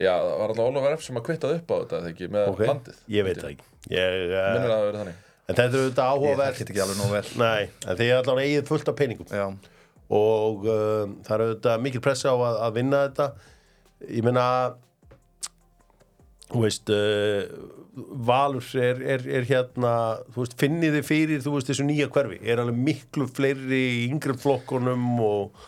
Já, Já, það var alltaf Ólafur F. sem að kvittað upp á þetta, eða ekki, með
Ok,
landið
ég veit það ekki. Ég,
Minnir
uh,
að það hafi verið þannig
en þetta er auðvitað
Ég þekki
áhugavert.
þetta ekki alveg nóg vel
Nei, en þið er allavega eigið fullt af peningum.
Já,
og uh, það er auðvitað mikil pressa á að, að vinna þetta ég meina þú veist uh, Valur er, er, er hérna þú veist, finnið þið fyrir þú veist, þessu nýja hverfi, er alveg miklu fleiri í yngri flokkunum og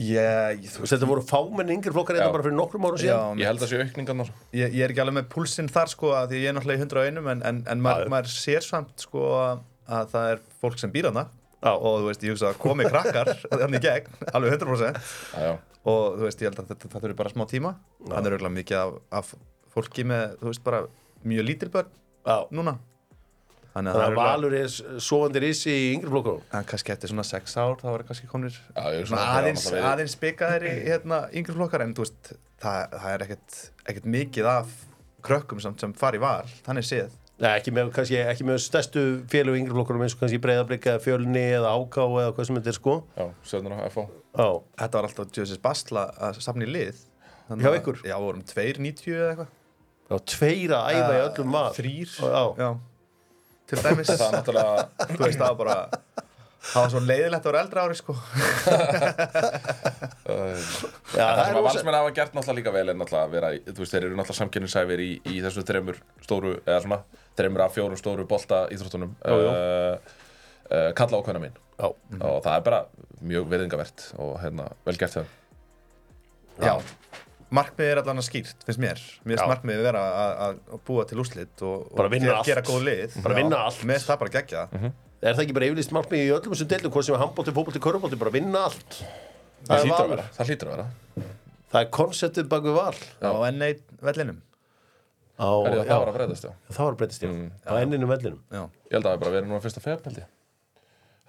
ég,
þú
þú,
veist, þetta voru fámenn yngri flokkar
Já.
þetta bara fyrir nokkrum árum
já
síðan
Ég held að sé aukningarnar
ég, ég er ekki alveg með púlsinn þar sko að því ég er náttúrulega í 101 en, en, en
Já,
maður,
já.
maður sér samt sko að það er fólk sem býr hana
Já.
og þú veist, ég hugsa að komi krakkar hann í gegn, alveg 100%
Já, já,
og þú veist, ég held að þetta, þetta þurfi bara smá tíma þannig er auðvitað mikið af, af fólki með, þú veist, bara mjög lítil börn
Já.
núna þannig að
þannig
það
að
er örugglega-
Valur er svoandi risi í yngri flokkunum
en kannski eftir svona 6 ár þá verður kannski komnir
já ég hugsa
Svona
að það
aðeins,
hafi náttúrulega verið-
aðeins byggaðir í hérna, yngri flokkar en þú veist, það, það er ekkert, ekkert mikið af krökkum samt sem fari val, þannig séð
Nei, ekki með, kannski, ekki með stærstu félög yngri flokkunum eins og kannski breyðablika fjölni eða áká eða hvað sem þetta er sko
Já, stjórnuna, FH
Já,
þetta var alltaf djöðsins basla að safna í lið Þannig
Hjá
að-
ykkur?
Já, vorum 2.90 eða eitthvað
Já, tveir að æfa í öllum val
Þrýr
Ah. Já.
Já, til dæmis
Það er náttúrulega
Þú veist, það var bara það var svo leiðilegt að vera eldra ári sko
uh,
Já, það er
en það sem að
rosa-
valsmenn hafa gert náttúrulega líka vel er náttúrulega að vera, í- þú veist, þeir eru náttúrulega samkynnisæfir í, í þessum þremur stóru, eða svona, þremur af fjórum stóru bolta íþróttunum
Jú, jú.
uh, uh, kalla ákveðna mín
Já,
Mhm. og það er bara mjög verðingavert og hérna, vel gert þeim
Já, markmiðið er allan að skýrt, finnst mér. Mér
Já.
finnst markmiðið vera að, að búa til úslit og,
Bara
og
vinna
gera,
allt.
gera góð lið.
Bara
Já.
vinna allt. Mhm.
Mér finnst það bara gegja. Mm -hmm.
er það ekki bara yfirlýst markmið í öllum þessum deildum, hvað sem er handbóti, fótbóti, körfbóti, bara vinna allt Það
það
er
hlýtur að
valur.
vera, það hlýtur að vera
Það er konceptið bak við val
Á N1 vellinum.
Á,
Herri,
já,
það var að breyðast, já
það var að breytast ég Á enninu vellinum
Já.
Ég held að það er bara verið núna fyrsta feb, held ég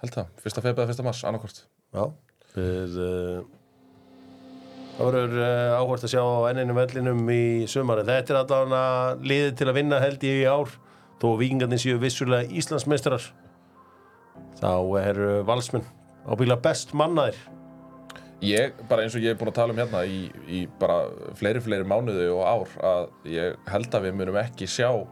Held það, fyrsta feb eða fyrsta mars, annarkvort
Já er, uh, Það verður uh, áhvert að sjá á enninu vellinum í sumari Þetta er allavega liðið til að vinna held ég í ár þó vikingarnir séu vissulega Íslandsmeistarar þá eru valsmenn á bíla best mannaðir
Ég, bara eins og ég er búin að tala um hérna í, í bara fleiri, fleiri mánuði og ár að ég held að við munum ekki sjá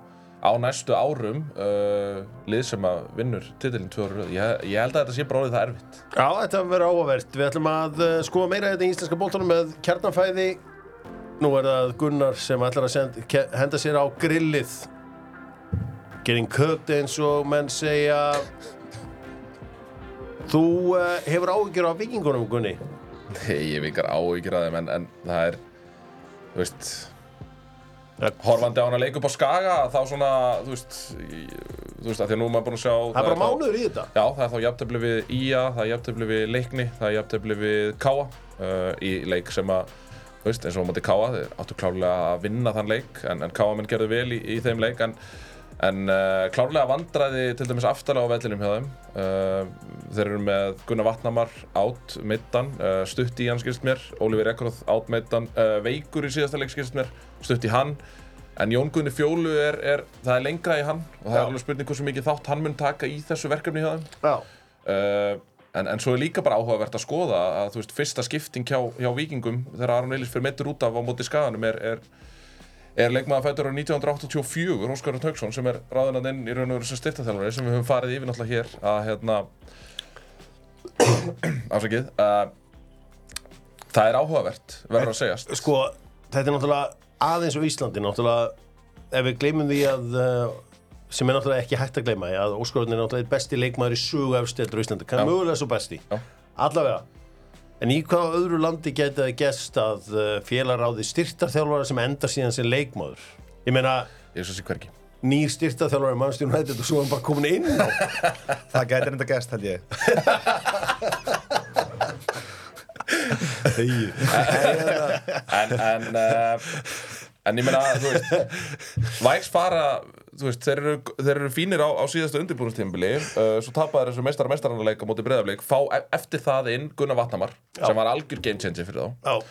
á næstu árum uh, lið sem að vinnur titilin tvö ára ég, ég held að þetta sé bara orðið það erfitt
Já, þetta verður áhugavert. Við ætlum að uh, skoða meira þetta í íslenska bóltanum með kjarnanfæði. Nú er það Gunnar sem ætlar að send, ke- henda sér á grillið. Getting cooked eins og menn segja. Þú uh, hefur áhyggjur af vikingunum, Gunni.
Nei, ég vikar á ekki ræðum en, en það er, þú veist
Það
horfandi á hana leik upp á skaga þá svona, þú veist í- þú veist, að því að nú er maður búin að sjá
er bara
þá-
mánuður í þetta.
Já, það er þá jafntefli við IA, það er jafntefli við Leikni, það er jafntefli við Káa uh, í leik sem að, þú veist, eins og á móti Káa, þeir áttu klárlega að vinna þann leik, en, en Káa menn gerðu vel í, í þeim leik, en, en uh, klárlega vandræði til dæmis aftalega á vellinum hjá þeim. Uh, þeir eru með Gunnar Vatnamar átt meittan, uh, stutt í hann skilst mér, Ólífur Ekroð átt meittan, uh, veikur í síðasta leik skilst mér, stutt í hann, En Jón Guðni Fjólu er, er, það er lengra í hann og það
Já.
er alveg spurning hversu mikið þátt hann mun taka í þessu verkefni hjá þeim.
Já.
Uh, en, en svo er líka bara áhugavert að skoða að þú veist, fyrsta skipting hjá, hjá vikingum þegar Aron Eilis fyrir meittur út af á móti skaganum er, er, er leikmaður fættur á 1984, Óskar Töksson sem er ráðunan inn í raun og veru sem styrtaþjálfari sem við höfum farið yfir náttúrulega hér að hérna afsakið uh, það er áhugavert, verður að segjast
Sko, þetta er náttúrulega aðeins á Íslandi. Náttúrulega, ef við gleymum því að... Uh, sem er náttúrulega ekki hægt að gleyma að Óskarurinn er náttúrulega einn besti leikmaður í sögu efsteldur á Íslandi, kann
Já.
mögulega svo besti
Já.
allavega en í hvaða öðru landi gæti það gæst að uh, félaráði styrtarþjálfara sem endar síðan sem leikmaður ég meina,
ég svo sé hvergi
nýr styrtarþjálfara mannstjórn hættið og svo er hann bara komin inn á
Það gæti reynda gæst, held ég.
en, en, uh, en ég meina, þú veist Vægs fara, þú veist, þeir eru, þeir eru fínir á, á síðasta undirbúinustímbili uh, svo tapaði þessu meistara mestaranleika móti breyðarleik, fá e eftir það inn Gunnar Vatnamar, sem var algjör game changer fyrir þá
Já.
uh,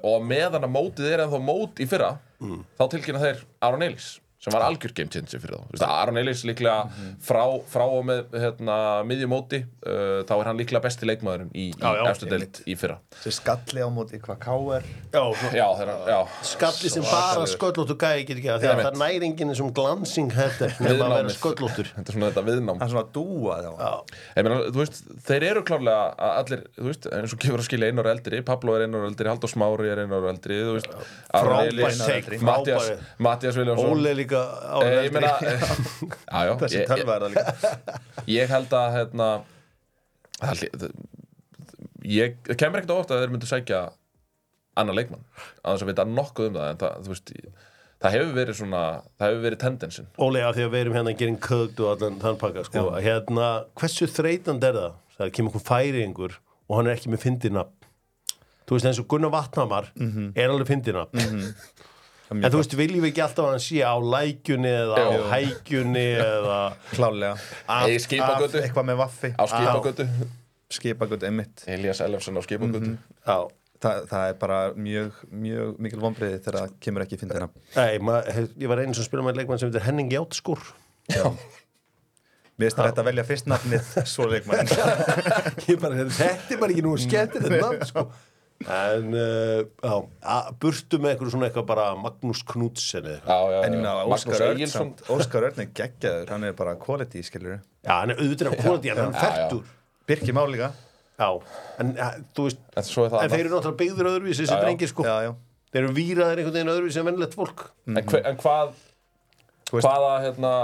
og á meðan að mótið er ennþá mót í fyrra
Mm.
þá tilkynna þeir Aron Eilis sem var algjör game changer fyrir þá Þú veist, Aron Eilis líklega
Mhm.
frá, frá og með hérna, miðjum móti uh, þá er hann líklega besti leikmaðurinn í,
Já, já,
í efstu deild í fyrra
Sér skalli á móti hvað K.R.
Já, svo-
Já, þeirra, já
skalli sem bara sköllóttu gæði getur ekki að því að
Einmitt.
það næri enginn sem glansing hætti nema að vera
Viðnámið.
sköllóttur
Þetta er svona þetta viðnám
Hann svona dúaði á hann.
Ég meina, þú veist, þeir eru klárlega að allir, þú veist, eins og gefur að skilja einar eldri Pablo er einar eldri, Haldur Smári er einar eldri Þú veist, Aron
Frábær
Elís,
take,
Mattias,
frábær.
Mattias Viljánsson
Óle líka á
Eh, Ég meina,
eldri.
eh, já, já,
Þessi
ég,
tölva er það líka.
ég held að, hérna það hlý- það- Ég það kemur ekkert á óvart að þeir myndu sækja annar leikmann, að þess að vita nokkuð um það en það, þú veist, það hefur verið svona, það hefur verið tendensin
Óli, af því að við erum hérna að gera einn kögt og allan þann pakka, sko, hérna, hversu þreytand er það? Það er kemur einhver færingur og hann er ekki með fyndinafn. Þú veist, eins og Gunnar Vatnamar
Mhm.
er alveg fyndinafn. En þú veist, viljum við ekki alltaf að hann sé á lækjunni eða á
Jú.
hækjunni eða...
Klálega.
Af-
Eða í skipagötu,
Af Eitthvað með vaffi.
á skipagötu
Skipagötu, einmitt.
Elias Elfsson á skipagötu
Já,
Þa, það er bara mjög, mjög mikil vonbreiði þegar það kemur ekki í fyndina.
nei, maður, ég var einu sem spila með leikmann sem heitir Henning Játskúr.
Mér finnst þetta að velja fyrst nafnið svo leikmann.
Ég bara, þetta er bara ekki nú skemmtilegt nafn, sko. En, uh, já, að- burtu með eitthvað svona eitthvað bara Magnús Knudsen eða eitthvað.
Já, já,
En ég meina
já. Magnús
Óskar Örn
Egilson
samt- Óskar Örn er geggjaður, hann er bara quality skilur
Já, hann er auðvitað af kvóti, hann er
já.
færtur.
Birkir Már líka,
Já, já, en eh, þú veist
En svo er
en
það annað.
þeir eru náttúrulega byggður öðruvísi
Já,
þessi
já.
drengir sko
já, já.
þeir eru víraðir einhvern veginn öðruvísi en vennilegt fólk
en, hve, en hvað
Þú veist-
hvaða, hérna,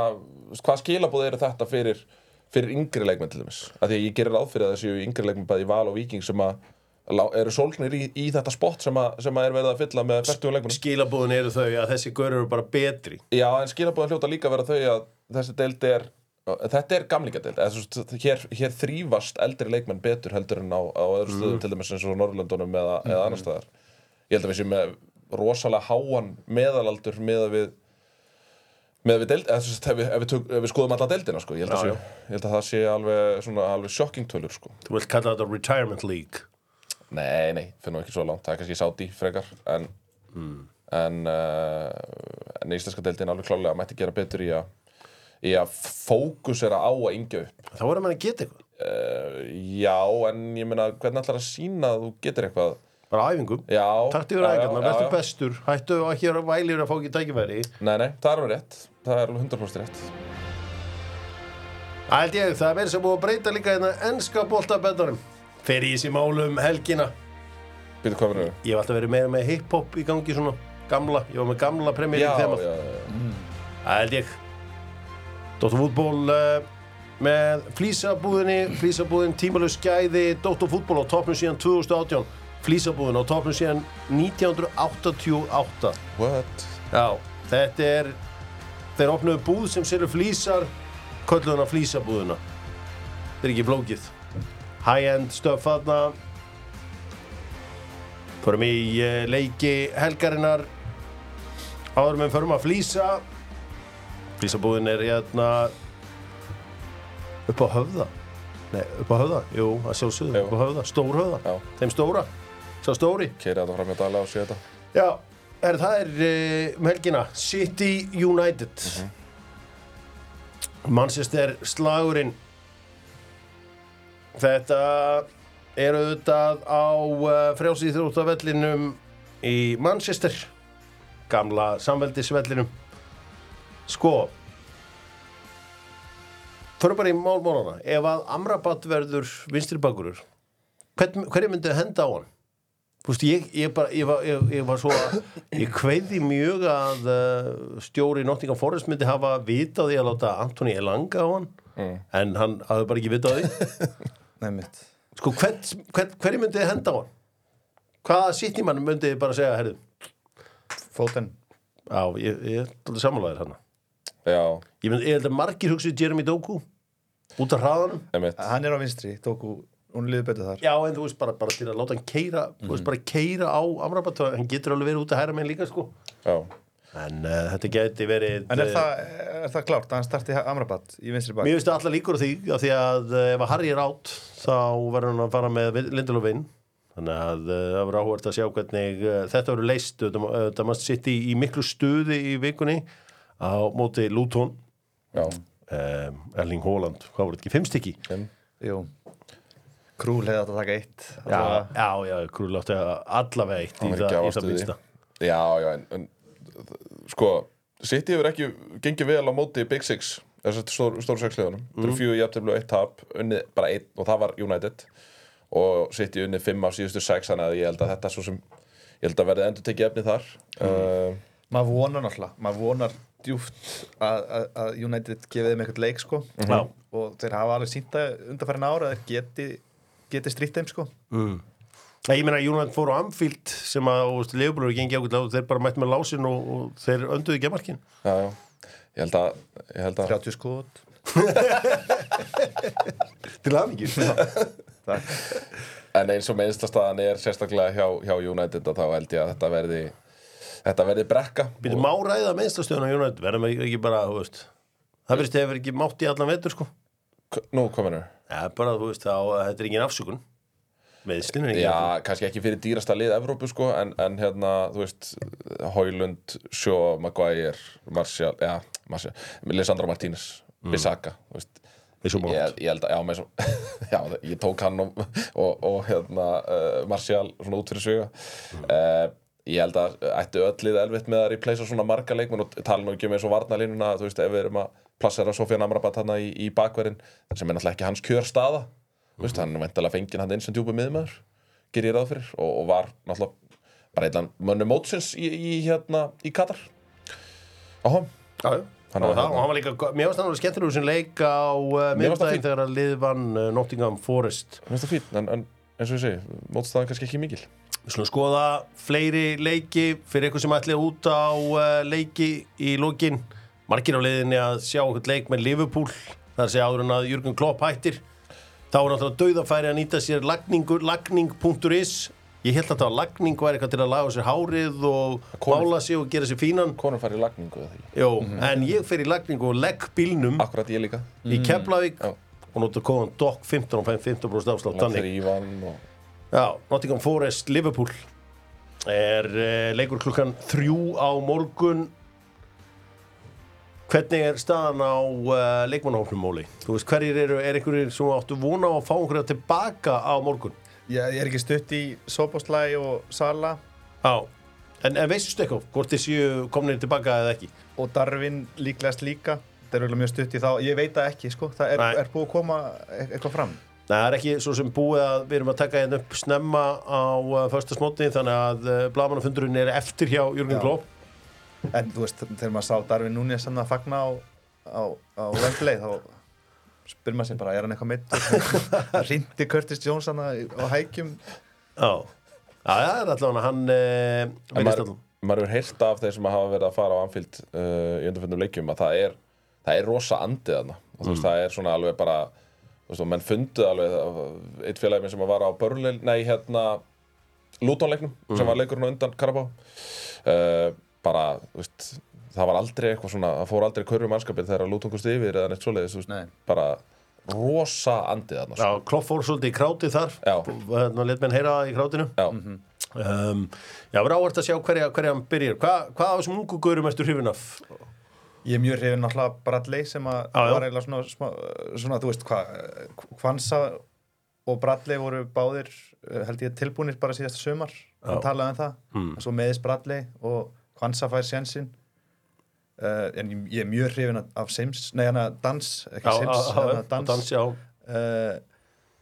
hvað skilabúð eru þetta fyrir, fyrir yngri leikmenn til dæmis af því að ég gerir ráð fyrir að það séu yngri leikmenn bæði í Val og Víking sem að lá- eru sólgnir í, í þetta spott sem að, sem að er verið að fylla með fyrtum leikmennum
skilabúðin eru þau að þessi görur eru bara betri
já en skilabúðin hljóta líka að vera þau að þessi deild er þetta er gamlingadeild eða, svo, hér, hér þrýfast eldri leikmenn betur heldur en á, á öðru stöðum
Mm.
til dæmis eins og Norrlöndunum eða, eða annar staðar ég held að við séum með rosalega háan meðalaldur meða við með við deild, eða, sem sagt, ef, við, ef, við tök, ef við skoðum alla deildina sko, ég
Já,
held, að, sé, ég held að það sé alveg, svona, alveg sjokkingtölur sko.
þú vilt kalla þetta retirement league
nei, nei, fyrir nú ekki svo langt það er kannski sáti frekar en, en, uh, en íslenska deildin alveg klálega mætti gera betur í að í að fókusera á að yngja upp
þá verður mann að geta eitthvað
uh, já, en ég meina hvernig ætlar að sína að þú getur eitthvað
bara á æfingum,
já,
takt yfir
já, já,
æfingarna,
já,
verður
já.
bestur hættu að hér að vælir að fá ekki tækifæri
nei, nei, það er alveg rétt, það er alveg 100% rétt
Það held ég, það er verið sem búið að breyta líka hérna ennska boltabendunum. Fer í þessi málu um helgina.
býtu hvað verður
Ég hef alltaf verið meira með hip-hop í gangi svona gamla. Ég var með gamla
já,
premjörið
já,
þemað.
já, já.
Það held ég. Dóttar fútból uh, með flýsabúðinni, flýsabúðin tímalöf skæði, Dóttar fútból á topnum síðan 2018. Flýsabúðin á topnum síðan 1988.
what?
Já, þetta er þeir opnuðu búð sem selur flísar kölluðuna flísabúðuna þetta er ekki flókið high-end stöf þarna förum í eh, leiki helgarinnar áður með förum að flísa flísabúðin er hérna upp á höfða Nei, upp á höfða, jú, að sjálfsögðu,
Jú.
upp á höfða, stór höfða,
Já.
þeim stóra, sá stóri.
keira þetta fram í dala og sé þetta
Já, er, það er uh, um helgina City United Manchester slagurinn Þetta er auðvitað á uh, frjálsýþróttavellinum í Manchester gamla samveldisvellinum Sko Förum bara í málmónana Ef að Amrabat verður vinstri bakurur Hverju myndið henda á hann? Þú veist, ég, ég, bara, ég, var, ég, ég var svo að, ég kveiði mjög að uh, stjóri Nottingham Forest myndi hafa vita á því að láta Antoni Elanga á hann,
Eh.
en hann hafði bara ekki vita á því.
Nei, mitt.
Sko, hvern, hvern, hverju myndi þið henda á hann? Hvaða sittnimann myndi þið bara segja, herðu,
Fóten.
já, ég, ég er alveg samanlæðir hann.
já,
Ég myndi, ég held að margir hugsið Jeremy Doku út af hraðanum.
emitt
Hann er á vinstri, tóku, hún liður betur þar.
Já, en þú veist bara, bara til að láta hann keira, þú
Mhm.
veist bara keira á Amrabat, hann getur alveg verið út að hæra með líka, sko.
já
En uh, þetta geti verið...
En er
eh,
það, er það klárt að hann starti Amrabat í vinstri bak?
Mér finnst það allar líkur á því af því að eh, ef að Harry er átt þá verður hann að fara með Lindelof inn þannig að eh, það verður áhvert að sjá hvernig eh, þetta verður leist þetta mann sitt í, í miklu stuði í vikunni á móti Luton
Já,
um, Erling Haaland, hvað voru þetta ekki, fimm stykki?
en,
Jú. Krúl hefði átt að taka eitt.
Já,
Allavega.
já, já, krúlátti allavega eitt í
hann er
það,
ekki
í það
ávastuð því
minnsta
Já, já, en, en sko, City hefur ekki gengið vel á móti Big Six þess að stór, stóru sexleðunum mm. þeir eru fjögur jafntöflu og eitt tap, unnið bara einn og það var United og City unnið fimm af síðustu sex þannig að ég held að þetta svo sem ég held að verði endur tekið efni þar mm.
Maður vonar náttúrulega, maður vonar djúft að, að, að United gefið þeim eitthvað leik sko
Já.
og þeir hafa alveg sínt að undarfærin ára þeir geti, geti strýtt þeim sko
Nei, Ég meina, Júland fór á Anfield sem að Leopold er gengið ákveld og þeir bara mættu með lásin og, og þeir önduðu gemarkin
já, já, ég held að, ég held að
30 skot
Til aðmyggjum
Takk.
en eins og meðinstastaðan er sérstaklega hjá, hjá United að þá held ég að þetta verði þetta verði brekka
Býtum má ræða meðstastöðuna United verðum við ekki bara, þú veist það verðist hefur ekki mátt í allan vetur sko
og, nú kominur
Já, bara, þú veist, þá, þetta er engin afsökun meðslinn er engin afsökun
Já, kannski ekki fyrir dýrasta lið Evrópu sko, en, en hérna, þú veist Hoylund, Sjó, Maguire Martial, já, Martial Lisandro Martínez, Bissaka þú veist,
Við svo mátt,
ég, ég held að, já, með svo já, ég tók hann og, og, og hérna, uh, Martial svona út fyrir sviga uh, ég held að ættu öll lið elvitt með að replacea svona marga leikmenn og tala nú ekki um eins og varnalínuna, þú veist, ef við erum að plassera Sofian Amrabat hana í, í bakverðin sem er náttúrulega ekki hans kjörstaða Þú veist, hann er væntalega fenginn hann inn sem djúpum miðmaður ger ég ráð fyrir og, og var náttúrulega bara einlan mönnum mótsins í, í hérna í Katar á hann
Já, já.
Hann
Hann
var
var, það,
hérna.
og hann var líka, mér varst hann alveg skemmtilegur sem leik á uh,
Mér fannst það
miðvikudaginn
fínt.
þegar að lið vann uh, Nottingham Forest.
Mér finnst það fín, en, en eins og ég segi, mótstaðan kannski ekki mikil
Við slúum skoða fleiri leiki fyrir ykkur sem ætlið út á uh, leiki í lokin. Margir á leiðinni að sjá eitthvað leik með Liverpool, þar sé áður en að Jürgen Klopp hættir. Þá er náttúrulega dauðafæri að nýta sér lagningu- lagning.is. Ég held að það var lagning væri eitthvað til að laga sér hárið og
Konur.
mála sig og gera sér fínan.
Konur fari í lagningu eða ekki
Jó, en ég fer í lagningu og legg bílnum
Akkurat ég líka
í Keflavík
Ah. Já.
og nota kóðan DOC 15 og 15% afslátt
Þannig
þannig.
Ívan og
Já, Nottingham Forest, Liverpool er eh, leikur klukkan þrjú á morgun hvernig er staðan á uh, leikmannahóknum Móli? Þú veist, hverjir eru, er einhverjir sem áttu vona á að fá einhverja tilbaka á morgun?
Ég, ég er ekki stutt í Soboslæ og Sala
Já, en, en veistu eitthvað, hvort þið séu komnir tilbaka eða ekki?
og Darvin líklegast líka það er örugglega mjög stutt í þá, ég veit það ekki sko. það er,
Nei.
er búið að koma e- eitthvað fram
Nei, það er ekki svo sem búið að við erum að taka hérna upp snemma á uh, föstasmóti þannig að uh, blamanafundurinn er eftir hjá Jürgen
Já.
Klopp
en þú veist, þegar maður sá Darvin núni sann að fagna á, á, á Wembley þá spyr maður sér bara, er hann eitthvað mitt rindi Curtis Jones hann á hækjum
Já, já það er allavega hann eh,
En
virðist
maður,
allavega
maður er heilt af þeir sem hafa verið að fara á Anfield uh, í undanfjöndum leikjum að það er, það er rosa andið þarna og þú veist, það er svona alveg bara þú veist, og menn funduð alveg það- eitt félagi minn sem var á Börlil, nei hérna Lutonleiknum sem var leikurinn á undan Karabá uh, bara, þú veist það var aldrei eitthvað svona, það fór aldrei körfum mannskapin þegar Luton kosti yfir eða neitt svoleiðis þú veist,
Nei.
bara rosa andið þarna sko.
Já, Klopp fór svolítið í krátið þar
Já.
Þannig að let menn heyra það í krátinu
Já.
um, Já, verður áhvert að sjá hverja, hverja hann byrjar Hva, Hvað á þessum ungu gaurum ertu hrifin af?
ég er mjög hrifin náttúrulega Bradley sem að
Já, já.
var eiginlega svona, svona, svona þú veist hvað Kvansa og Bradley voru báðir eh, held ég tilbúinir bara síðasta sumar hann talaði um það
Hmm.
mm. svo meðis Bradley og Kvansa fær sjansinn uh, en ég, ég er mjög hrifin af- af Sims nei hann að Dans ekki
Já,
Sims,
já, já,
hann að
dans.
Dans, dans
já
Eh,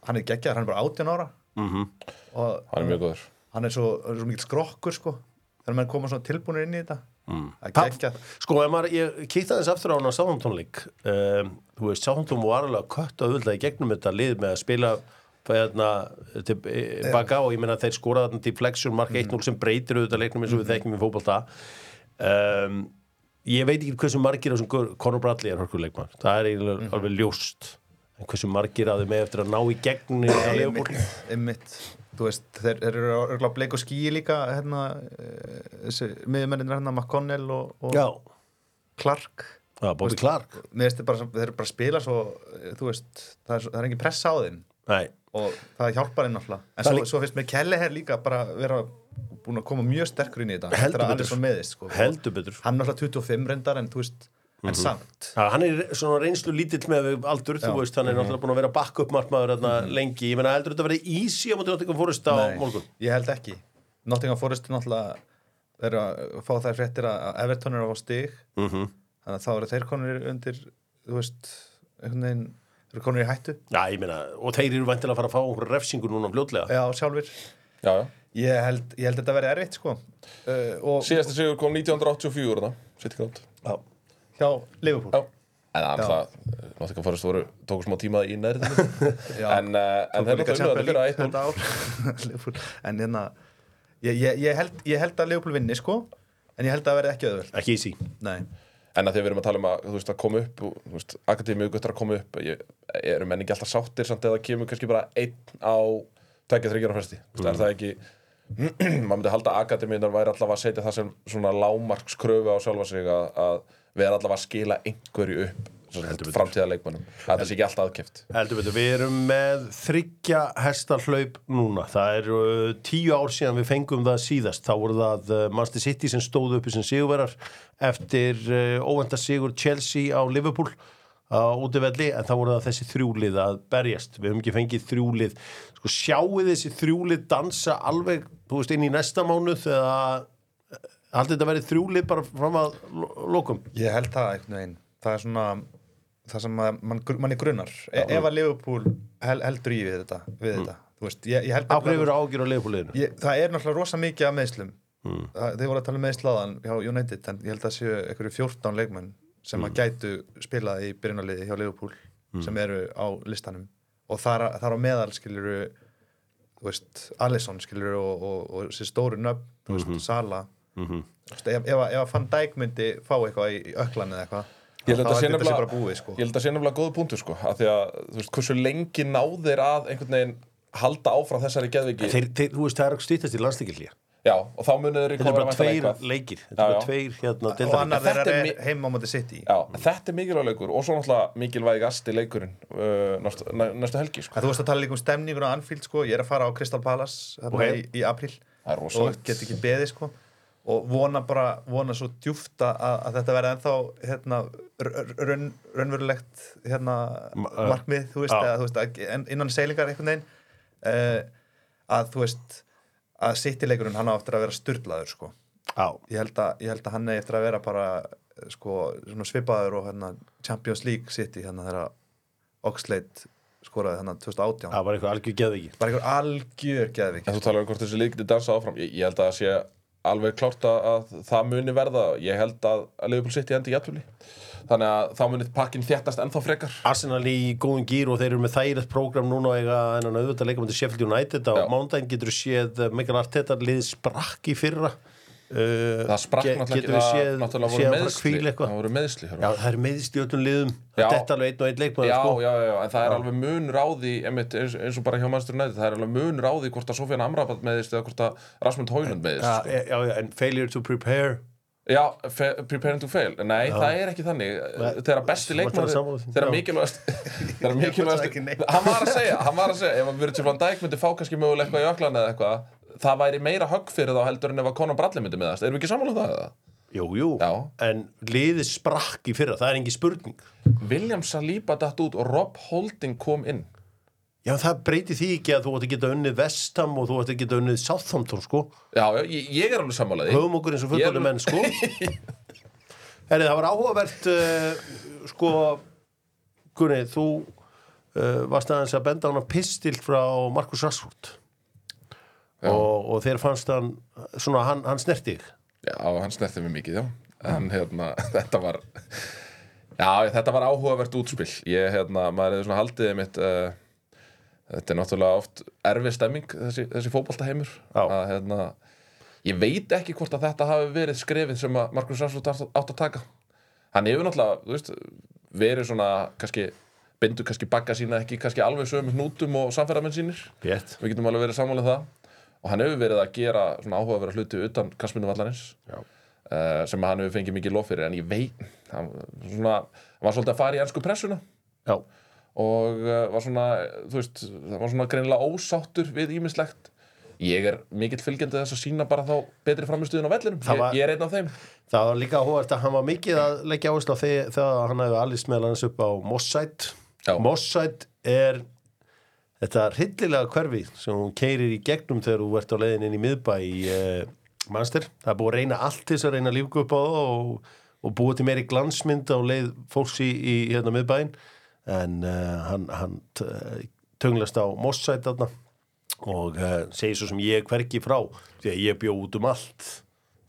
hann er geggjar, hann er bara 18 ára
Mhm.
-hmm. og
hann er mjög góður
hann er svo, hann er svo mikil skrokkur sko þegar maður koma svona tilbúinir inn í þetta mm. að
Papp-
geggja
Sko, ef maður, ég kýtta þess aftur á hann á Sáhantón-leik um, Þú veist, Sáhantón var alveg að kötta auðvitað í gegnum þetta lið með að spila hérna, til eh, baka og ég meina þeir skoraða þarna deflection mark 1-0 sem breytir auðvitað leiknum eins og við þekkjum í fótbolta um, Ég veit ekki hversu margir af þessum gaur- Conor Bradley er hörkuleikmann það er eiginlega alveg ljóst en hversu margir að þau með eftir að ná í gegnum á Leopold
einmitt, einmitt. þú veist, þeir, þeir eru örgulega bleik og skýi líka hérna, eh, þessi miðjumennir hérna McConnell og, og
Já,
Clark
það er bóðið Clark
Mér finnst þeir bara, þeir bara spila svo eh, þú veist, það er, svo- það er engin pressa á þeim
Nei,
og það hjálpar þeim náttúrulega en
Það
svo,
lík-
svo finnst mér Kelleher líka bara vera búin að koma mjög sterkur inn í þetta
Heldur
að
betur.
allir svo meðist sko.
heldur betur
hann er náttúrulega 25 reyndar en þú veist,
Mhm.
en samt
Já, hann er svona reynslu lítill með við aldur, þú veist,
Mhm.
hann er náttúrulega búin að vera backup markmaður þarna lengi, ég menna heldur þetta að vera easy á móti náttúrulega fórist á
Nei,
morgun
Ég held ekki Nottingham Forest er náttúrulega er að fá þær fréttir að að Everton er á stig
Mhm.
-hmm. þannig að þá eru þeir konur undir þú veist, einhvern veginn eru konur í hættu
Já, ég menna, og þeir eru vantilega að fara að fá einhver refsingu núna fljótlega
Já, sjálfur
já, já.
Ég held, ég held þetta verið erfitt sko uh, og
síðasta sigur kom 1984 þarna, hérna, City Ground
Já,
hjá Liverpool
Já. En það er alltaf, náttúrulega fórist voru, tóku smá tíma í næri þannig. en uh, en þeir náttúrulega unnið þetta
líka Champions
fyrir
League
að 1-0.
þetta ár Liverpool. En hérna ég, ég, ég, held, ég held að Liverpool vinni sko en ég held að það verið ekki öðvöld
ekki easy
Nei,
En að þegar við erum að tala um að, þú veist, að koma upp, og, þú veist, akademíu guttar að koma upp, ég, erum menn ekki alltaf sáttir samt eða kemur kannski bara einn á tveggja þryggjara festi. Þú veist, er
Mm.
það ekki, maður myndi halda að akademíunar væri alltaf að setja það sem svona lámarkskröfu á sjálfa sig að, að vera alltaf að skila einhverju upp framtíðarleikmannum. Þetta sé ekki alltaf aðkeft.
Heldur betur, við erum með þryggja hesta hlaup núna Það eru uh, tíu ár síðan við fengum það síðast Þá voru það uh, Manchester City sem stóðu uppi sem sigurverar Eftir uh, óvenda sigur Chelsea á Liverpool á útivelli En þá voru það þessi þrjúlið að berjast Við höfum ekki fengið þrjúlið Sko sjáið þessi þrjúlið dansa alveg Þú veist inn í næsta mánuð uh, Þegar haldið þetta verið þrjúlið bara fram að lo- lokum
ég held það einhvern veginn það er svona það sem að mann, gru- manni grunar e ef að Liverpool hel, heldur í við þetta, við þetta. þú veist, ég, ég held
Ákveður hefur ágjur á leifbúliðinu
ég, það er náttúrulega rosa mikið af meðslum mm.
Hmm.
þeir voru að tala um meðslaðan hjá United en ég held að séu einhverju 14 leikmenn sem
Hmm.
að gætu spilað í byrjunarliði hjá Liverpool sem eru á listanum og þar, þar á meðal skiluru þú veist, Alisson skiluru og, og, og sér stóru nöfn, þú
Hmm.
veist, Sala Þú veist, ef, ef, að- ef að Van Dijk myndi fá eitthvað í, í öklan eða eitthvað
Ég held
þá
að þetta sé
þetta sé bara
nefnilega-
búið sko
ég held að sé nefnilega góðu punktu sko að því að þú veist hversu lengi náðir að einhvern veginn halda áfram þessari geðviki
Þeir, þeir, þú veist, það er ekki stýttast í landstíkilíja
já og þá munið
Þetta er
þeir recover
bara
væntanlega
tveir
eitthvað.
leikir Þetta er
Já,
bara
já.
tveir hérna
og
deildarleikir.
Þetta
annar
er
þeirra er
mi-
heima á móti sitt í
Já, þetta er mikilvæg leikur og svo náttúrulega mikilvægasti leikurinn uh, næstu, næ- næstu helgi sko.
En þú veist að tala líka um stemningur á Anfield sko, ég er að fara á Crystal Palace hérna,
Ok.
í, í april
Það er rosalegt.
og get ekki beðið sko og vona bara, vona svo djúft að, að þetta verði ennþá hérna, r- raun, raunverulegt hérna,
Ma- eh,
markmið, þú veist,
já.
eða, þú veist að, en- innan seilingar einhvern veginn uh, að þú veist að sittileikurinn hann á eftir að vera styrlaður sko.
Já,
ég, held að, ég held að hann eigi eftir að vera bara eh, sko, svona svipaður og hérna, Champions League sitt í hérna þegar Oxlade skoraði hérna 2018
það var eitthvað algjör geðviki
bara einhver algjör geðvik
En þú talar um hvort þessi leikni dansa áfram ég, ég held að það sé alveg klárt að- að það muni verða ég held að að Liverpool City endi jættvili þannig að þá muni pakkin þjættast ennþá frekar
Arsenal í góðum gýr og þeir eru með þægilegt prógram núna og eiga þennan auðvitað leikamöndi Sheffield United
Já.
á mándaginn getur við séð eh, Michael Arteta liðið sprakk í fyrra uh,
það sprakk náttúrulega
getur við
það-
séð,
náttúrulega
séð
voru
hann bara
meiðsli
kvíl eitthvað
það voru meðsli
Já, það er meðist í öllum liðum
Já.
þetta er alveg einn og einn leikmaður
já,
sko.
já, já, já, en það er alveg mun ráði einmitt, eins, eins og bara hjá mannstur næti það er alveg mun ráði hvort að Sofjan Amrabat meðist eða hvort að Rasmund Hóilund meðist
Já,
sko.
já, já, en failure to prepare
já, fe- preparing to fail nei, það er ekki þannig þegar besti
þú ert alveg
leikmaður
sammála því.
þegar
Já.
mikilvægast þegar
Ég hugsaði ekki
mikilvægast
neitt.
hann var að segja, hann var að segja ef að Virgil van Dijk myndi fá kannski mögulega eitthvað í öklan eða eitthvað það væri meira högg fyrir þá heldur en ef að Conor Bradley myndi meðast erum við ekki sammála um það eða?
jú, jú.
Já.
en liðið sprakk í fyrra það er engin spurning
William Saliba datt út og Rob Holding kom inn
já, það breytir því ekki að þú ætti að geta unnið Vestham og þú ætti að geta unnið Southampton sko.
já, já, ég, ég er alveg sammálaði
höfum okkur eins og
Ég er-
fullorðin menn sko. Heri, það var áhugavert uh, sko Gunni, þú uh, varst aðeins að benda á hana pistil frá Markus Rassford
Já.
og, og þeir fannst hann svona, hann, hann snerti þig
Já, hann snerti mig mikið, já En hérna, þetta var Já, þetta var áhugavert útspil Ég, hérna, maður hefði svona haldið mitt uh, Þetta er náttúrulega oft erfið stemming, þessi, þessi fótboltaheimur
Já.
að, hérna, Ég veit ekki hvort að þetta hafi verið skrefið sem að Markus Rassford átt að taka Hann hefur náttúrulega, þú veist, verið svona, kannski bindu kannski bagga sína ekki, kannski alveg sömu hnútum og samferðamenn sínir
Rétt.
við getum alveg verið samanlega það og hann hefur verið að gera svona áhugaverða hluti utan kastminu vallarins
Já.
uh, sem hann hefur fengið mikið lof fyrir en ég veit, hann svona, var svolítið að fara í ennsku pressuna
Já.
og uh, var svona, þú veist, það var svona greinilega ósáttur við ímislegt Ég er mikill fylgjandi þess að sína bara þá betri framistuðin á vellinum,
Það var-
ég, ég er einn af þeim
það var líka áhugavert að hann var mikið að leggja áherslu á því þegar hann hefði allist meðal hans upp á Mossætt
Já.
Mossætt er þetta hryllilega hverfi sem hún keirir í gegnum þegar þú ert á leiðin inn í miðbæ í uh, mannster. Það er búið að reyna allt til þess að reyna að lífgu upp á það og, og búið til meiri glansmynd á leið fólks í, í hérna miðbæin en uh, hann, hann uh, tunglast á Mossæt þarna og uh, segir svo sem ég er hvergi frá því að ég bjó út um allt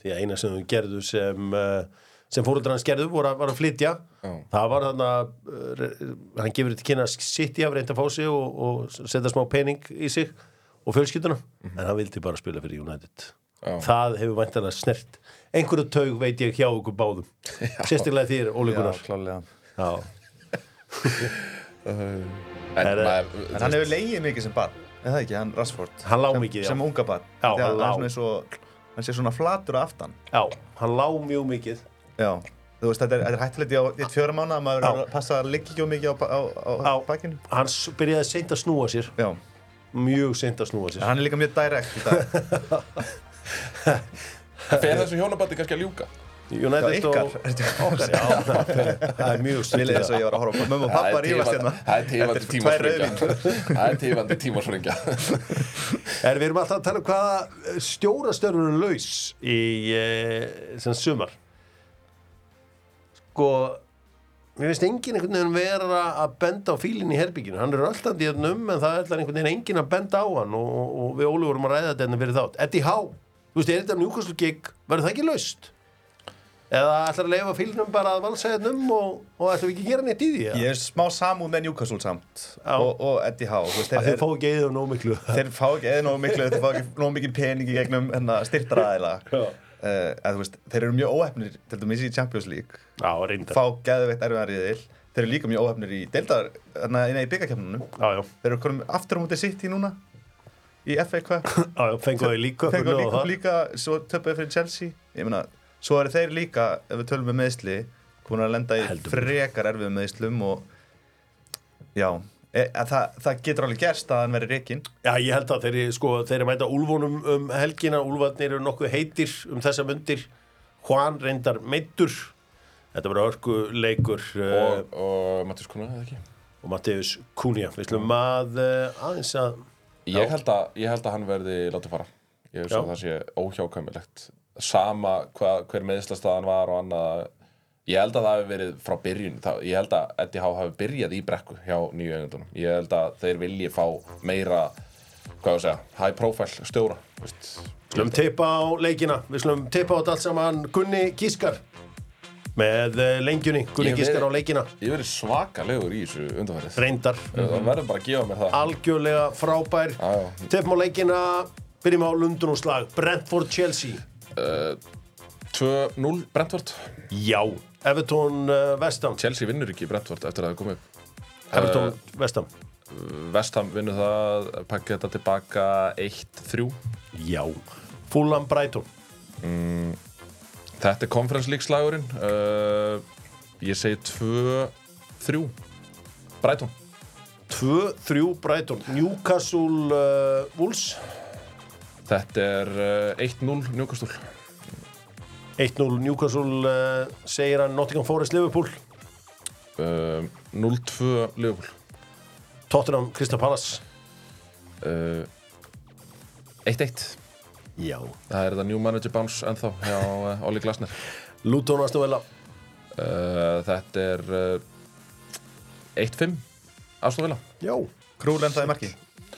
því að eina sem þau gerðu sem uh, sem fóruldrar hans gerðu voru að, var að flytja
Já.
það var þarna uh, re- hann gefur þetta kynna sitt í að reynda að fá sig og, og setja smá pening í sig og fjölskylduna
Mhm.
en hann vildi bara spila fyrir United
Já.
það hefur væntanlega snert einhverju taug veit ég hjá ykkur báðum sérstaklega þér, Óli
Já,
Gunnar
klálega
Já.
En,
Herre,
maður,
En hann hefur leigið mikið sem barn, er það ekki, hann Rashford
Hann lá
Sem-
mikið, já.
Sem unga barn
Já,
Þegar
hann lá.
hann er svona, svo, hann sé svona flatur að aftan
Já, hann lá mjög mikið
Já Þú veist, þetta er, þetta er hættulegt í á eitt fjöra mánu að maður
Já.
er að passa að liggja ekki of mikið á, ba- á, á, á
Já.
bakinu
hann s- byrjaði seint að snúa sér
Já,
mjög seint að snúa sér
hann er líka mjög direkt í dag
fer þessu hjónabandi kannski að ljúka
United
Já, ykkar.
og okkar já, það það er mjög
Vil
stutt í
ég þess
það.
að ég var að horfa á Mömmu
Það
og pappa
er
rífast
tifandi-
hérna
það er tifandi
Þetta tvær
tímasfringja Það er tifandi tímasfringja
er við erum alltaf að tala um hvaða stjórastörfur er laus í eh, sem sumar sko mér finnst enginn einhvern veginn vera að benda á fílinn í herbygginu, hann er röltandi hérna um en það er alltaf einhvern veginn enginn að benda á hann og, og, og við Óli vorum að ræða þetta en fyrir þátt Eddie Howe, þú veist, er þetta njúkastlu gig verður það ekki laust? Eða ætlar að leifa fílinnum bara að valsa hérna um og, og ætlar við ekki að gera neitt í því?
Ég er smá samúð með Newcastle samt
Já.
og, og Eddie Howe þú veist,
að þeir fá ekki eða nóg miklu
þeir fá ekki eða nógu miklu þeir fá ekki nógu mikið pening í gegnum hérna, styrtaraðila
Já.
uh, en þú veist, þeir eru mjög óhefnir til dæmis í Champions League
Já, reyndar
fá geðveitt erfiðan riðil þeir eru líka mjög óhefnir í deildar hérna, nei, í byggakefnunum
Já, já,
þeir eru konum aftur á móti sitt í núna í FA Cup
já, já fengu þau líka
þeir eru líka, líka svo töpuðu fyrir Chelsea ég meina, svo eru þeir líka ef við tölum með meðsli búin að lenda í
Heldur betur.
frekar erfiðum meðslum og já e, að, það, það getur alveg gerst að hann veri reikinn
Já, ég held að þeir, sko, þeir mæta úlfunum um helgina, úlfarnir eru nokkuð heitir um þessa mundir, Juan reyndar meittur, þetta verður örku leikur
Eh.
og,
og, og Mattis Kuna, eða ekki?
og Mattius Kunja, við slum að uh, aðeins að,
Ég held, að, ég held að hann verði látið fara. Ég hef svo
Já.
það sé óhjákvæmilegt. Sama hva, hver meðslastaðan var og annað. Ég held að það hafi verið frá byrjun. Það, ég held að Eddie Howe hafi byrjað í brekku hjá nýju eigendunum. Ég held að þeir vilji fá meira, hvað ég að segja, high profile stjóra. Vist.
slum teipa á leikina, við slum teipa á þetta allt saman Gunni Gískar með uh, lengjunni, Gunni
Ég
Gískar
verið-
á leikina,
Ég hef verið svakalegur í þessu undanfærið.
reyndar,
Það verður bara að gefa mér það.
algjörlega frábær,
Já, já.
teipum á leikina, byrjum á Lundun og slag, Brentford Chelsea.
2-0 Brentford.
Já, Everton uh, Vestam
Chelsea vinnur ekki Brentford eftir að það komið.
Everton Vestam
Vestham vinnur það, pakka þetta tilbaka 1-3.
Já Fulham Brighton
Þetta er Conference League slagurinn. Uh, ég segi 2-3. Brighton.
2-3 Brighton Newcastle uh, Wolves
Þetta er uh, 1-0 Newcastle.
1-0 Newcastle uh, segir hann Nottingham Forest Liverpool
Uh, 0-2 Liverpool.
Tottenham Crystal Palace
Uh, 1-1.
Já
Það er þetta New Manager Bounce ennþá hjá uh, Olli Glasner.
Luton Aston Villa
Uh, þetta er uh, 1-5 Aston Villa.
Já
Krúl endaði marki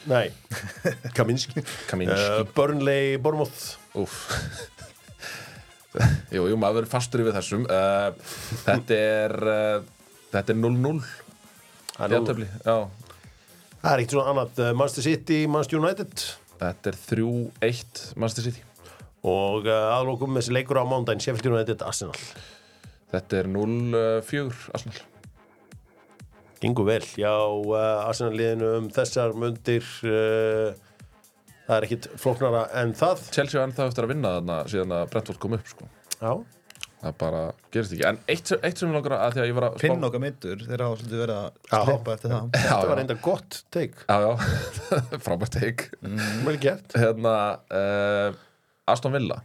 Nei Kaminski uh,
Kaminski.
Burnley Bournemouth
Úf Jú, jú, maður verður fastur yfir þessum uh, Þetta er uh, Þetta er 0-0
Það er
jafntefli, já.
nú- það er ekkert svona annað uh, Manchester City, Manchester United
Þetta er 3-1 Manchester City
og uh, aðlokum þessi leikur á mándaginn Sheffield United Arsenal
Þetta er 0-4 Arsenal
Gengur vel, já, uh, Arsenal liðinu um þessar mundir uh, það er ekkit flóknara en það
Chelsea var ennþá eftir að vinna þarna síðan að Brentford kom upp sko.
Já,
Það bara gerist ekki En eitt, sem- eitt sem ég langar að því að ég var að
Pinn okkar mittur, þeir hafa svolítið verið að
Já.
sleppa eftir það
þetta var
Já, já,
reynda gott teik,
já, já. frábært teik
vel gert
Hérna uh, Aston Villa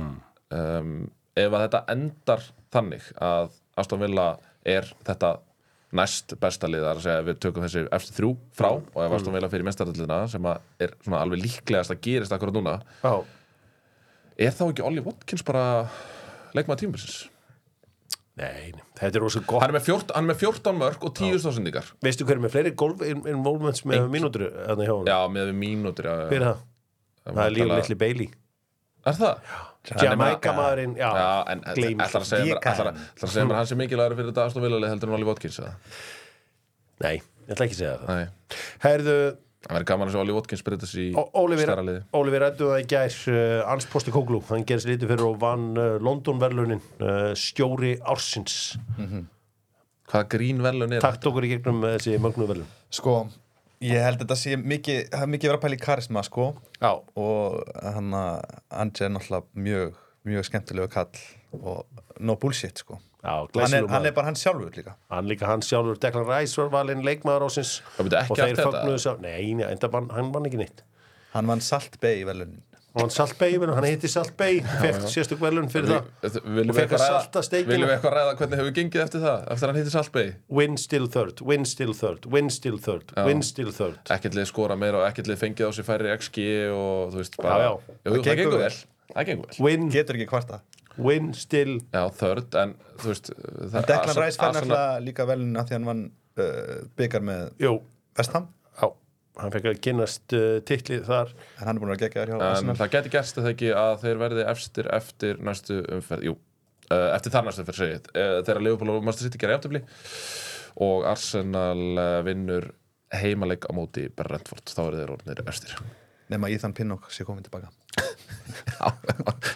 um, ef að þetta endar þannig að Aston Villa er þetta næst besta lið það er að segja að við tökum þessi eftir þrjú frá og
Mm.
ef Aston Villa fyrir mestarallina sem að er svona alveg líklegast að gerist akkurat núna
Já,
er þá ekki Ollie Watkins bara leikmaður tímursins
nei, nei, þetta er rosa gott
hann er með 14, hann er með 14 mörg og 10 stásendingar
Veistu hver er með fleiri golf in- involvements með Ein. mínútur hérna hjá hún?
já með við mínútur já, já.
Hver er það? Það er líka
Væntanlega-
litli Bailey
er það?
Jamaica maðurinn, já,
já en
gleymir.
ætlar að segja mér
Dika.
ætlar að- ætlar að segja mér að hann sé mikilvægur fyrir þetta Aston Villa lið heldur en Ollie Watkins eða?
Nei, ég ætla ekki að segja það
nei
Herðu,
Það verður gaman að sjá Olli Watkins breyta sér í
Ó- Oliver,
stærra liði.
Oliver rættu það í gær uh, Ans Posti Koglu, hann gerist lítið fyrir og vann uh, London-verlunin uh, stjóri ársins
Hvaða grín velun er
takt okkur í gegnum með þessi mögnu velum
Sko, ég held að þetta sé mikið, það er mikið verið að pæla í karisma sko
Já,
og hann að Angie er náttúrulega mjög, mjög skemmtilegu kall og no bullshit sko
já
hann er,
glæsilum
hann
hann,
er bara hann sjálfur líka
hann líka hann sjálfur Declan Rice var valinn leikmaður ásins
Það myndi ekki
og þeir
allt þetta.
fögnuðu sá Nei, nei enda, vann- hann vann ekki neitt
hann vann Salt Bay í velunin
og hann Salt Bay, menn, hann heiti Salt Bay fekk sérstök velun fyrir það
Viljum
Og fekk
við eitthvað
að
ræða
salta steikina.
Viljum við eitthvað ræða hvernig hefur gengið eftir það Eftir að hann hittir Saltbey
Win still third, win still third, win still third win still third
Ekkert lið skora meira og ekkert lið fengið á sig færri XG og þú veist
Já,
bara
já.
Jú, jú,
Það
það
gengur
gengur
vel.
vel Það gengur vel
Mm.
Win,
getur ekki kvarta
win still
Já, þörd, en þú veist það,
Declan Rice fær
Arsenal-
náttúrulega líka velin að því hann vann uh, byggar með
Jú,
Vestham
já, hann fekk að kynast uh, titlið þar
en hann er búin að gegja þér hjá
En
Arsenal
það geti gerst eða ekki að þeir verði efstir eftir næstu umferð, jú, eh, eftir þar næstu umferð segið, þegar Leopold og Master City gera jafntöfli og Arsenal eh, vinnur heimaleik á móti Brentford, þá eru þeir orðinir efstir.
nema Ethan Pinnock sé komin tilbaka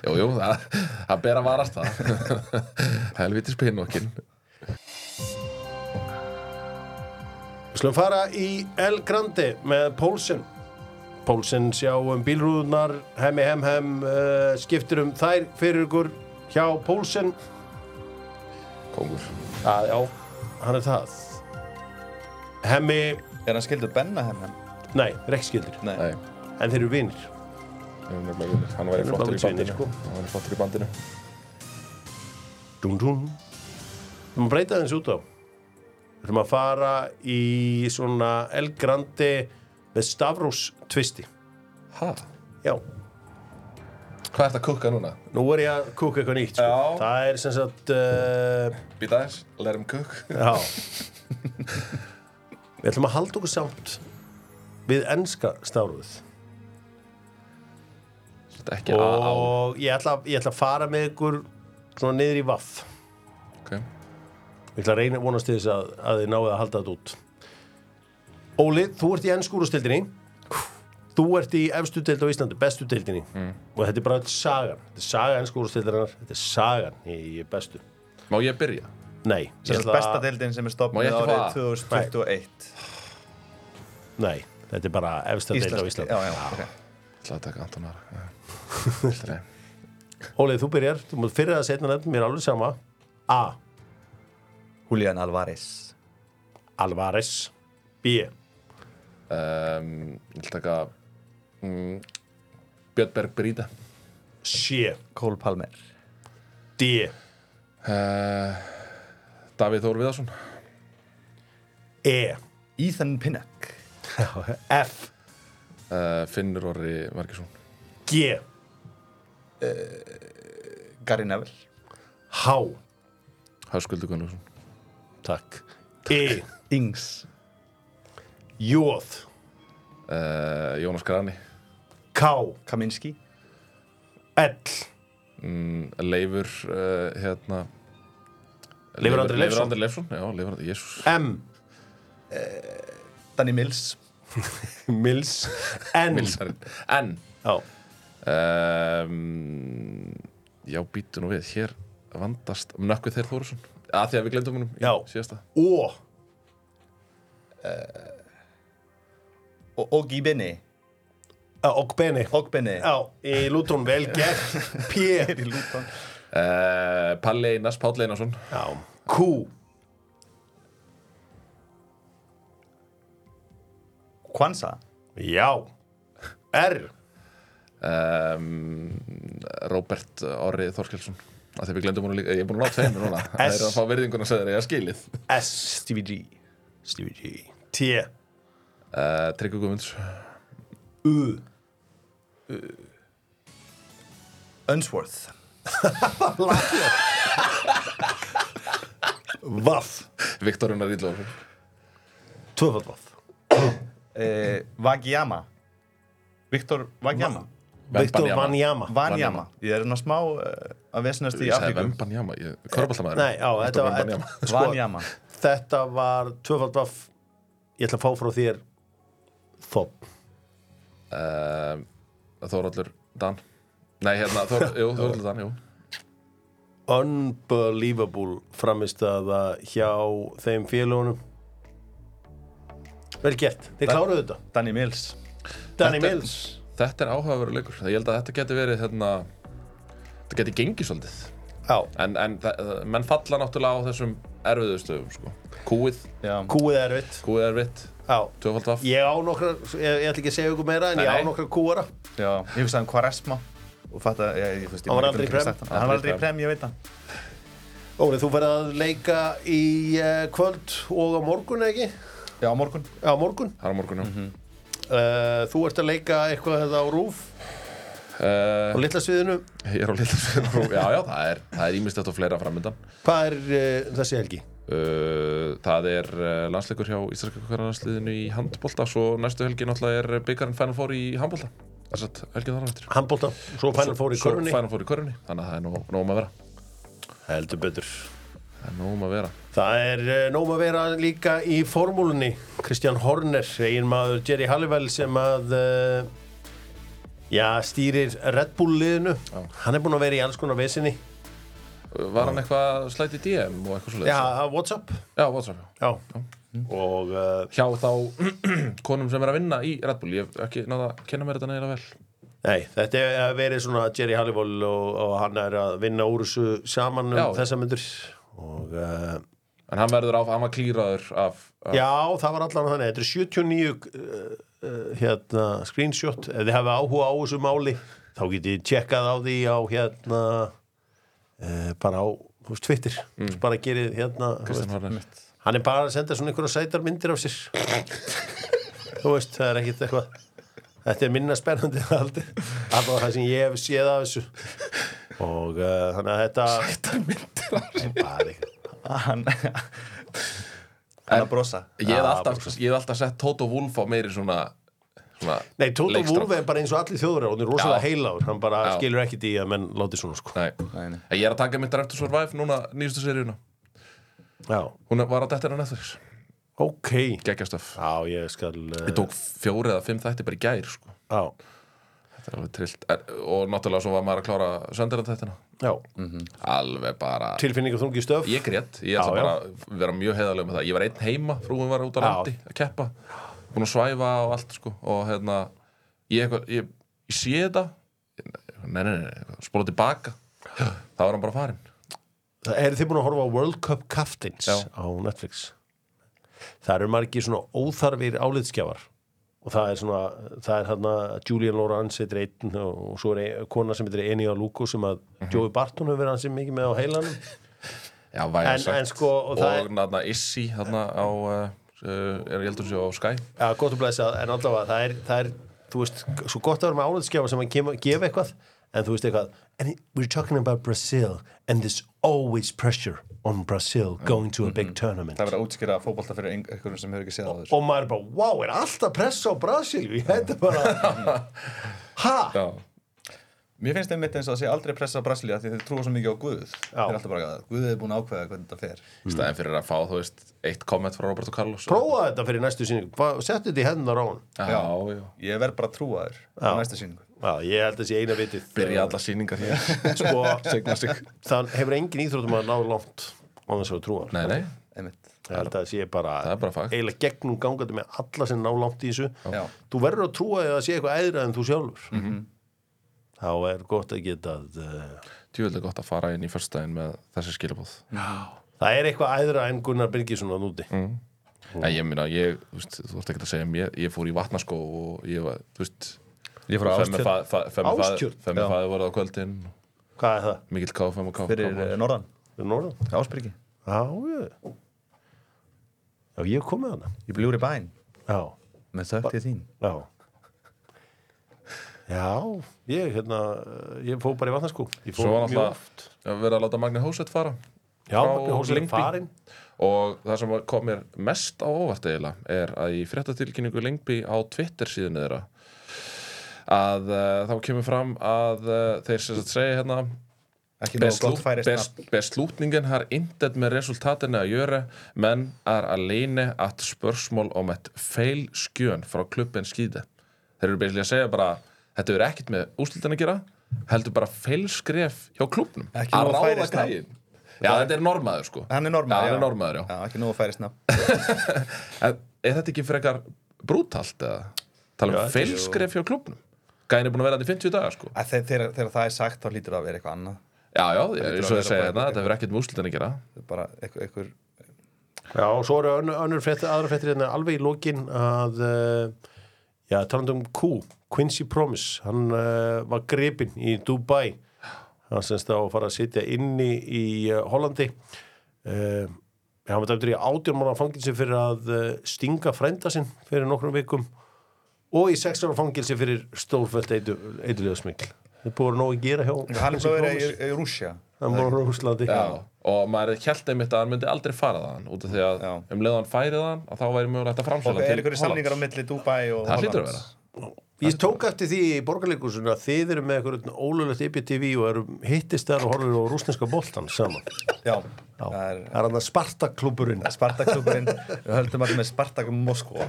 jú, jú, það, það ber að varast það. Helvitis pinnokkin.
Við slum fara í El Grande með Pólsen Pólsen sjá um bílrúðunar hemmi hemm hemm uh, skiptir um þær fyrir ykkur hjá Pólsen
Kongur.
að já, hann er það hemmi,
er hann skildur Benna hennan?
nei, rekkskildir
Nei.
Nei,
en þeir eru vinnir
við erum nefnilega vinnir. hann væri
Við erum
flottur í
alveg tveimir, sko.
bandinu. Hann væri flottur í bandinu.
Dún, dún. Við erum að breyta þessu út á. Við erum að fara í svona El Grande með Stavros tvisti.
Hæ?
Já,
Hvað ert að kukka núna?
nú er ég að kúka eitthvað nýtt. Sko.
Já.
Það er sem sagt, uh,
Býta þess, let him cook.
já. Við ætlum að halda okkur samt við enska stafrúðuð.
Þetta er ekki að á.
Og ég ætla, ég ætla að fara með ykkur svona niður í vaff.
Ok.
Ég ætla að reyna vonast til þess að, að þið náðu að halda þetta út. Óli, þú ert í ennskúrustildinni. Þú ert í efstu dild á Íslandi, bestu dildinni.
Mm.
Og þetta er bara sagan. Þetta er saga ennskúrustildarinnar. Þetta er sagan í, í bestu.
Má ég byrja?
Nei. ég
sem
ætla-
er besta deildin sem
Má ég
er stopnið
ekki
árið
fá það?
2021
Nei, þetta er bara efsta dild á
Íslands-
Íslandi.
já, já, ok.
ætla að taka Anton Ara. Allt í lagi.
Óli, þú byrjar. Þú mútt fyrir að setna nefn, mér er alveg sama. A.
Julian Alvarez
Alvarez. B.
um, Ég ætla að taka mm, Björn Berg Brýta
C.
Cole Palmer
D.
uh, Davíð Þór Viðarsson
E.
Ethan Pinnock
F.
uh, Finnur Orri Markesson
G.
Gary Neville
H.
Höskuldur Gunnlaugsson
Takk. E.
Ings
Jóð.
uh, Jónas Grani
K.
Kaminski
L
mm, Leifur uh, hérna
Leifur Andri Leifsson.
Andri Leifsson, já, Leifur Andri, jésús
M
Danny Mills
Mills N
En
Já,
um, Já, býtu nú við, hér vandast Nökkvið Þeir Þórsson að því að við glemdum húnum
Já.
síðasta
O
og Ogibini
Já, og Benny
Ogbini
Já, í Lúton vel gert P
í Luton
uh, Palli Einars, Páll Einarsson
Já, Q
Kwanza
Já R
um, Robert Orri Þorskelsson að því við glendum hún líka, ég er búin að ná tveimur núna það
S.
er að fá verðinguna sem þeir eiga skilið
S
Stevie G
Stevie G T
uh, Tryggur Guðmunds
U
Unsworth
Vaff
Viktorina Ríðlóf
Tvöfald vaff
eh, Vagyama Viktor Vagyama
Viktor Vanjama
Vanjama ég er svona smá uh, að vesinast í
Ég sagði
Afríku
Vembanjama, ég korfbaltamaður
Nei, já, þetta var
Vanjama
þetta-
Vanjama
Þetta var tvöfald vaff Ég ætla að fá frá þér Þopp
uh, Þóraldur Dan Nei, hérna, Þór, jú, Þóraldur Dan, jú
unbelievable framistaða hjá þeim félagunum vel gert, þeir kláruðu þetta
Danny Mills
Danny
Þetta-
Mills
Þetta er áhugaveru leikur, ég held að þetta geti verið hérna, þetta geti gengið svolítið
Já.
en, en þa- menn falla náttúrulega á þessum erfiðu stöðum sko. Kúið,
já
kúið er erfitt
kúið er vitt,
Já.
tvöfald vaff
ég á nokkra, ég, ég ætla ekki að segja ykkur meira en
Nei,
ég á
nei.
nokkra kúara
já ég hugsaði um Quaresma og fatt að ég, ég, ég, ég,
Hann var
man
aldrei
ekki
í
hvernig
prem.
sagt hann Hann var aldrei í prem ég veit það
Óli, þú færð að leika í uh, kvöld og á morgun eða ekki?
já á morgun
Já, á morgun
Það er á morgunum
Eh, uh, Þú ert að leika eitthvað þetta á rúf
Uh,
hérna á litla sviðinu
ég er á litla sviðinu Já, já, það er, það er ímest eftir fleira framöndan
hvað er uh, þessi helgi?
uh, Það er uh, landsleikur hjá Íslandska kvöranlandsliðinu í handbólta Svo næstu helgi náttúrulega er byggarinn Final Four í handbólta Það er satt helgin þar á eftir
handbólta, svo fænum fór í
Svo
körfunni
Final Four í körunni, þannig að það er nóg, nóg um að vera
heldur betur
Það er nóg um að vera
það er uh, nóg að vera líka í formúlunni Kristján Horner, eigin maður Jerry Halliwell sem að uh, já, stýrir Red Bull liðinu hann er búin að vera í alls konar vesinni
Var hann eitthvað slæti DM og eitthvað svo
já, á Whatsapp
já, WhatsApp já
já. og uh,
hjá þá konum sem er að vinna í Red Bull ég hef ekki náða að kenna mér þetta neina vel
Nei, þetta er verið svona Jerry Halliwell og, og hann er að vinna úr þessu saman um
Já.
þessa myndur og uh,
en hann verður á, hann var klíraður af, af
já, það var allan þannig þetta er 79 uh, uh, hérna, screenshot, ef þið hafa áhuga á þessu máli, þá getið þið tjekkað á því á hérna uh, bara á þú veist, Twitter mm. bara gerið hérna þú
Kristján
veist,
Horner
hann er bara að senda svona einhverja sætar myndir af sér þú veist, það er ekkit eitthvað þetta er minna spennandi en aldrei alltaf það sem ég hef séð af þessu og uh, þannig að þetta
Þetta myndir af sér.
bara eitthvað
hann hann að brosa
ég hef
Já,
alltaf, ég hef alltaf sett Toto Wolff á meiri svona, svona
Nei, Tóta
leikstrák.
Wolf er bara eins og allir þjóður og hann er rosalega
Já.
heiláður, hann bara
Já.
skilur ekkit í að menn láti svona sko
Nei.
Nei, nei.
En ég er að taka myndir eftir Survive núna nýjustu seríuna
Já,
hún var að dettir á Netflix
ok Já,
geggjastöf
ég skal uh,
ég tók fjóri eða fimm þætti bara í gær sko.
Já,
þetta er alveg trillt er, og náttúrulega svo var maður að klára söndirand þættina
já,
alveg bara
tilfinning og þungi stöf
Mm. Ég grét, ég ætla
Já, já.
bara að vera mjög heiðalega með það Ég var einn heima, frúin var út á
Já.
landi að keppa Búin að svæfa og allt sko Og hérna, ég, eitthvað- ég, ég sé þetta Nei, nei, nei, nei, spóla tilbaka Það var hann bara farinn
Er þið búin að horfa á World Cup Captains
Já.
á Netflix? Það eru margir svona óþarfir álitskjafar og það er svona, það er hérna Julian Lawrence heitir einn og, og svo er ein, kona sem heitir Enya Luko sem að
Mhm.
Joey Barton hefur verið hans mikið með á heilanum
Já, væri
En-
sagt
en sko, og
Og
það er-
þarna Issi, þarna á uh, Er ég heldur sér á Sky
Já, gott að blæsa, en allavega það er, það er þú veist, svo gott að vera með álitskjafar sem að kema, gefa eitthvað, en þú veist eitthvað and we're talking about Brazil and there's always pressure on Brazil going to a big
Mm-hmm.
tournament
það verður að útskýra fótbolta fyrir ein- einhverjum sem hefur ekki séð á þessu
og maður er bara, wow, er alltaf pressa á Brasilíu þetta er bara ha,
Já,
Mér finnst einmitt eins og það sé aldrei pressa á Brasilia því þeir trúa svo mikið á Guð. Þeir er alltaf bara að Guð er búin að ákveða hvernig þetta fer.
í staðin fyrir að fá, þú veist, eitt komment frá Roberto Carlos
prófa þetta fyrir næstu sýningu settu þetta í hendunar á hann
Já, já, já
Ég verð bara að trúa þér á næsta síningu.
já, ég held að sé eina vitið
Byrja alla sýningar hér
sko,
Signa sig
þann hefur engin íþróttum að ná langt á þess að trúa
Nei, nei,
Einmitt.
ég held að sé bara,
Það er bara fakt.
eiginlega gegnum gangandi með alla sem ná langt í þessu
Já.
þú verður að trúa því að sé eitthvað æðra en þú sjálfur
Mhm.
þá er gott að geta uh,
tjúvöldi gott að fara inn í fyrstæðin með þessi skilabóð
það er eitthvað æðra en Gunnar Byrgisson að núti mm.
Nei, ég minna, ég, þú veist, þú ert ekki að segja mér, ég fór í vatnaskó og ég var, þú veist
Ég fór á Ástjörn.
Ástjörn?
Femmi
Já.
fæði voru á kvöldin,
hvað er það?
mikill káf, femmi káf
Fyrir eh, norðan.
Fyrir norðan?
Ásbyrgi.
Já, ég. Já, ég kom með hana.
Ég bljúri bæn.
Já,
Með þögt ég þín.
já. Já, ég, hérna, eh, ég fór bara í vatnarskú. Ég fór
Svo var
mjög oft.
náttúrulega að vera að láta Magni Hósett fara
Já,
frá
Magni Hósett
Lyngby.
farinn.
Og það sem kom mér mest á óvart eiginlega er að í fréttatilkynningu Lengby á Twitter síðan þeirra að uh, þá kemur fram að uh, þeir sem sagt segja hérna
Ekki
Ber
nóg gott færi snabbt.
slut- Beslutningen har intet med resultatene å gjøre, men er alene at spørsmål om et feil skjøn fra klubben skide. Þeir eru beislega að segja bara, þetta eru ekkert með úslitin að gera, heldur bara feilskref hjá klubnum.
Ekki
að
nóg
ráða
færi snabbt.
græin. Já, þetta er normaður sko.
Hann er normaður,
já. Hann er
já.
normaður, já.
Já, ekki nóg færi snabbt.
En er þetta ekki frekar brútalt eða? Tala
Já,
um
þetta er
feilskref hjá klubnum. Gæin er búin að vera þetta í 50 dagar sko.
Að þeir- Þegar þegar það er sagt þá hlýtur það að vera eitthvað annað.
Já, já, eins og
að
þeir segja
vera
þetta, þetta hefur ekkert með úslitin að gera.
Það er bara eitthvað, eitthvað
Já, og svo eru önnur, önnur frétt, aðra fréttir hérna alveg í lokin að, uh, já, talandi um Q, Quincy Promise, hann uh, var gripinn í Dubai. Hann semst á að fara að sitja inni í uh, Hollandi. Uh, hann var dæmdur í átjörmána fangilsi fyrir að uh, stinga frænda sinn fyrir nokkrum vikum og í sex ára fangilsi fyrir stórfælt eitu, eitulega smikl. er búin að nóg að gera hjá
Hann er bara
Rómans.
í Rússia
hann búin að Rúslandi
Já, og maður held einmitt að hann myndi aldrei fara þaðan út af því að
Já.
um leið og hann færið þaðan að þá væri mögulegt að
Og
framsæla
er ykkur samningar á milli Dubai og
Það hlýtur að
Hollands.
vera.
Ég tók eftir því í borgarleikursinu að þið eru með eitthvað ólulegt IPTV og eru hittist þar og horfir á rúsneska boltan saman.
Já,
Já.
það er
Það er hann að sparta klúburinn.
Spartakklubburinn Við höldum allir með Spartak um Moskva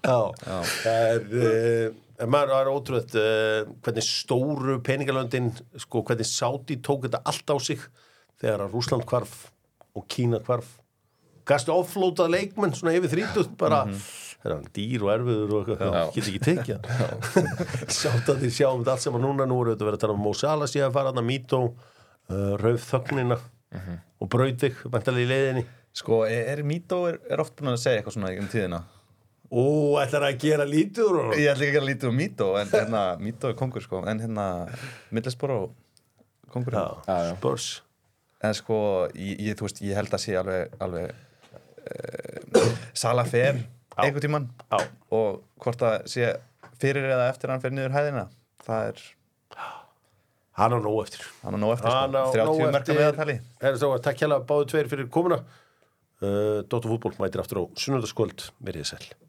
Já. Það er, uh, en maður það er ótrúið uh, hvernig stóru peningalöndin, sko, hvernig Saudi tók þetta allt á sig þegar að Rúsland hvarf og Kína hvarf. Gastu offlótað leikmenn svona yfir þrítugt bara, mm er hann dýr og erfiður og eitthvað,
Já.
get ekki tekið hann. Sátt að því sjáum þetta allt saman núna, nú eru þetta verið að tala um Mo Salah síðan að fara hann að mító, uh, rauf þögnina og brautig, vantarlega í leiðinni.
Sko, er, er Mito er, er oft búin að segja eitthvað svona um tíðina
Ó, ætlar að gera lítið úr honum?
Ég ætla ekki að gera lítið um Mito En hérna, Mito er kongur sko En hérna, Middlesboro kongur
Já,
Já, já.
spörs.
En sko, ég, ég, þú veist, ég held að sé alveg, alveg uh, Sala fer einhvern tímann
Já.
Og hvort það sé fyrir eða eftir hann fer niður hæðina Það er,
Hann á nóg eftir.
hann er nóg eftir
Hann á
sko. 30 merka meðaltali
Er það takk hérlega báðu tveir fyrir komuna. Uh, Dóttu fútból mætir aftur á sunnundaskvöld. Verið þið sæl.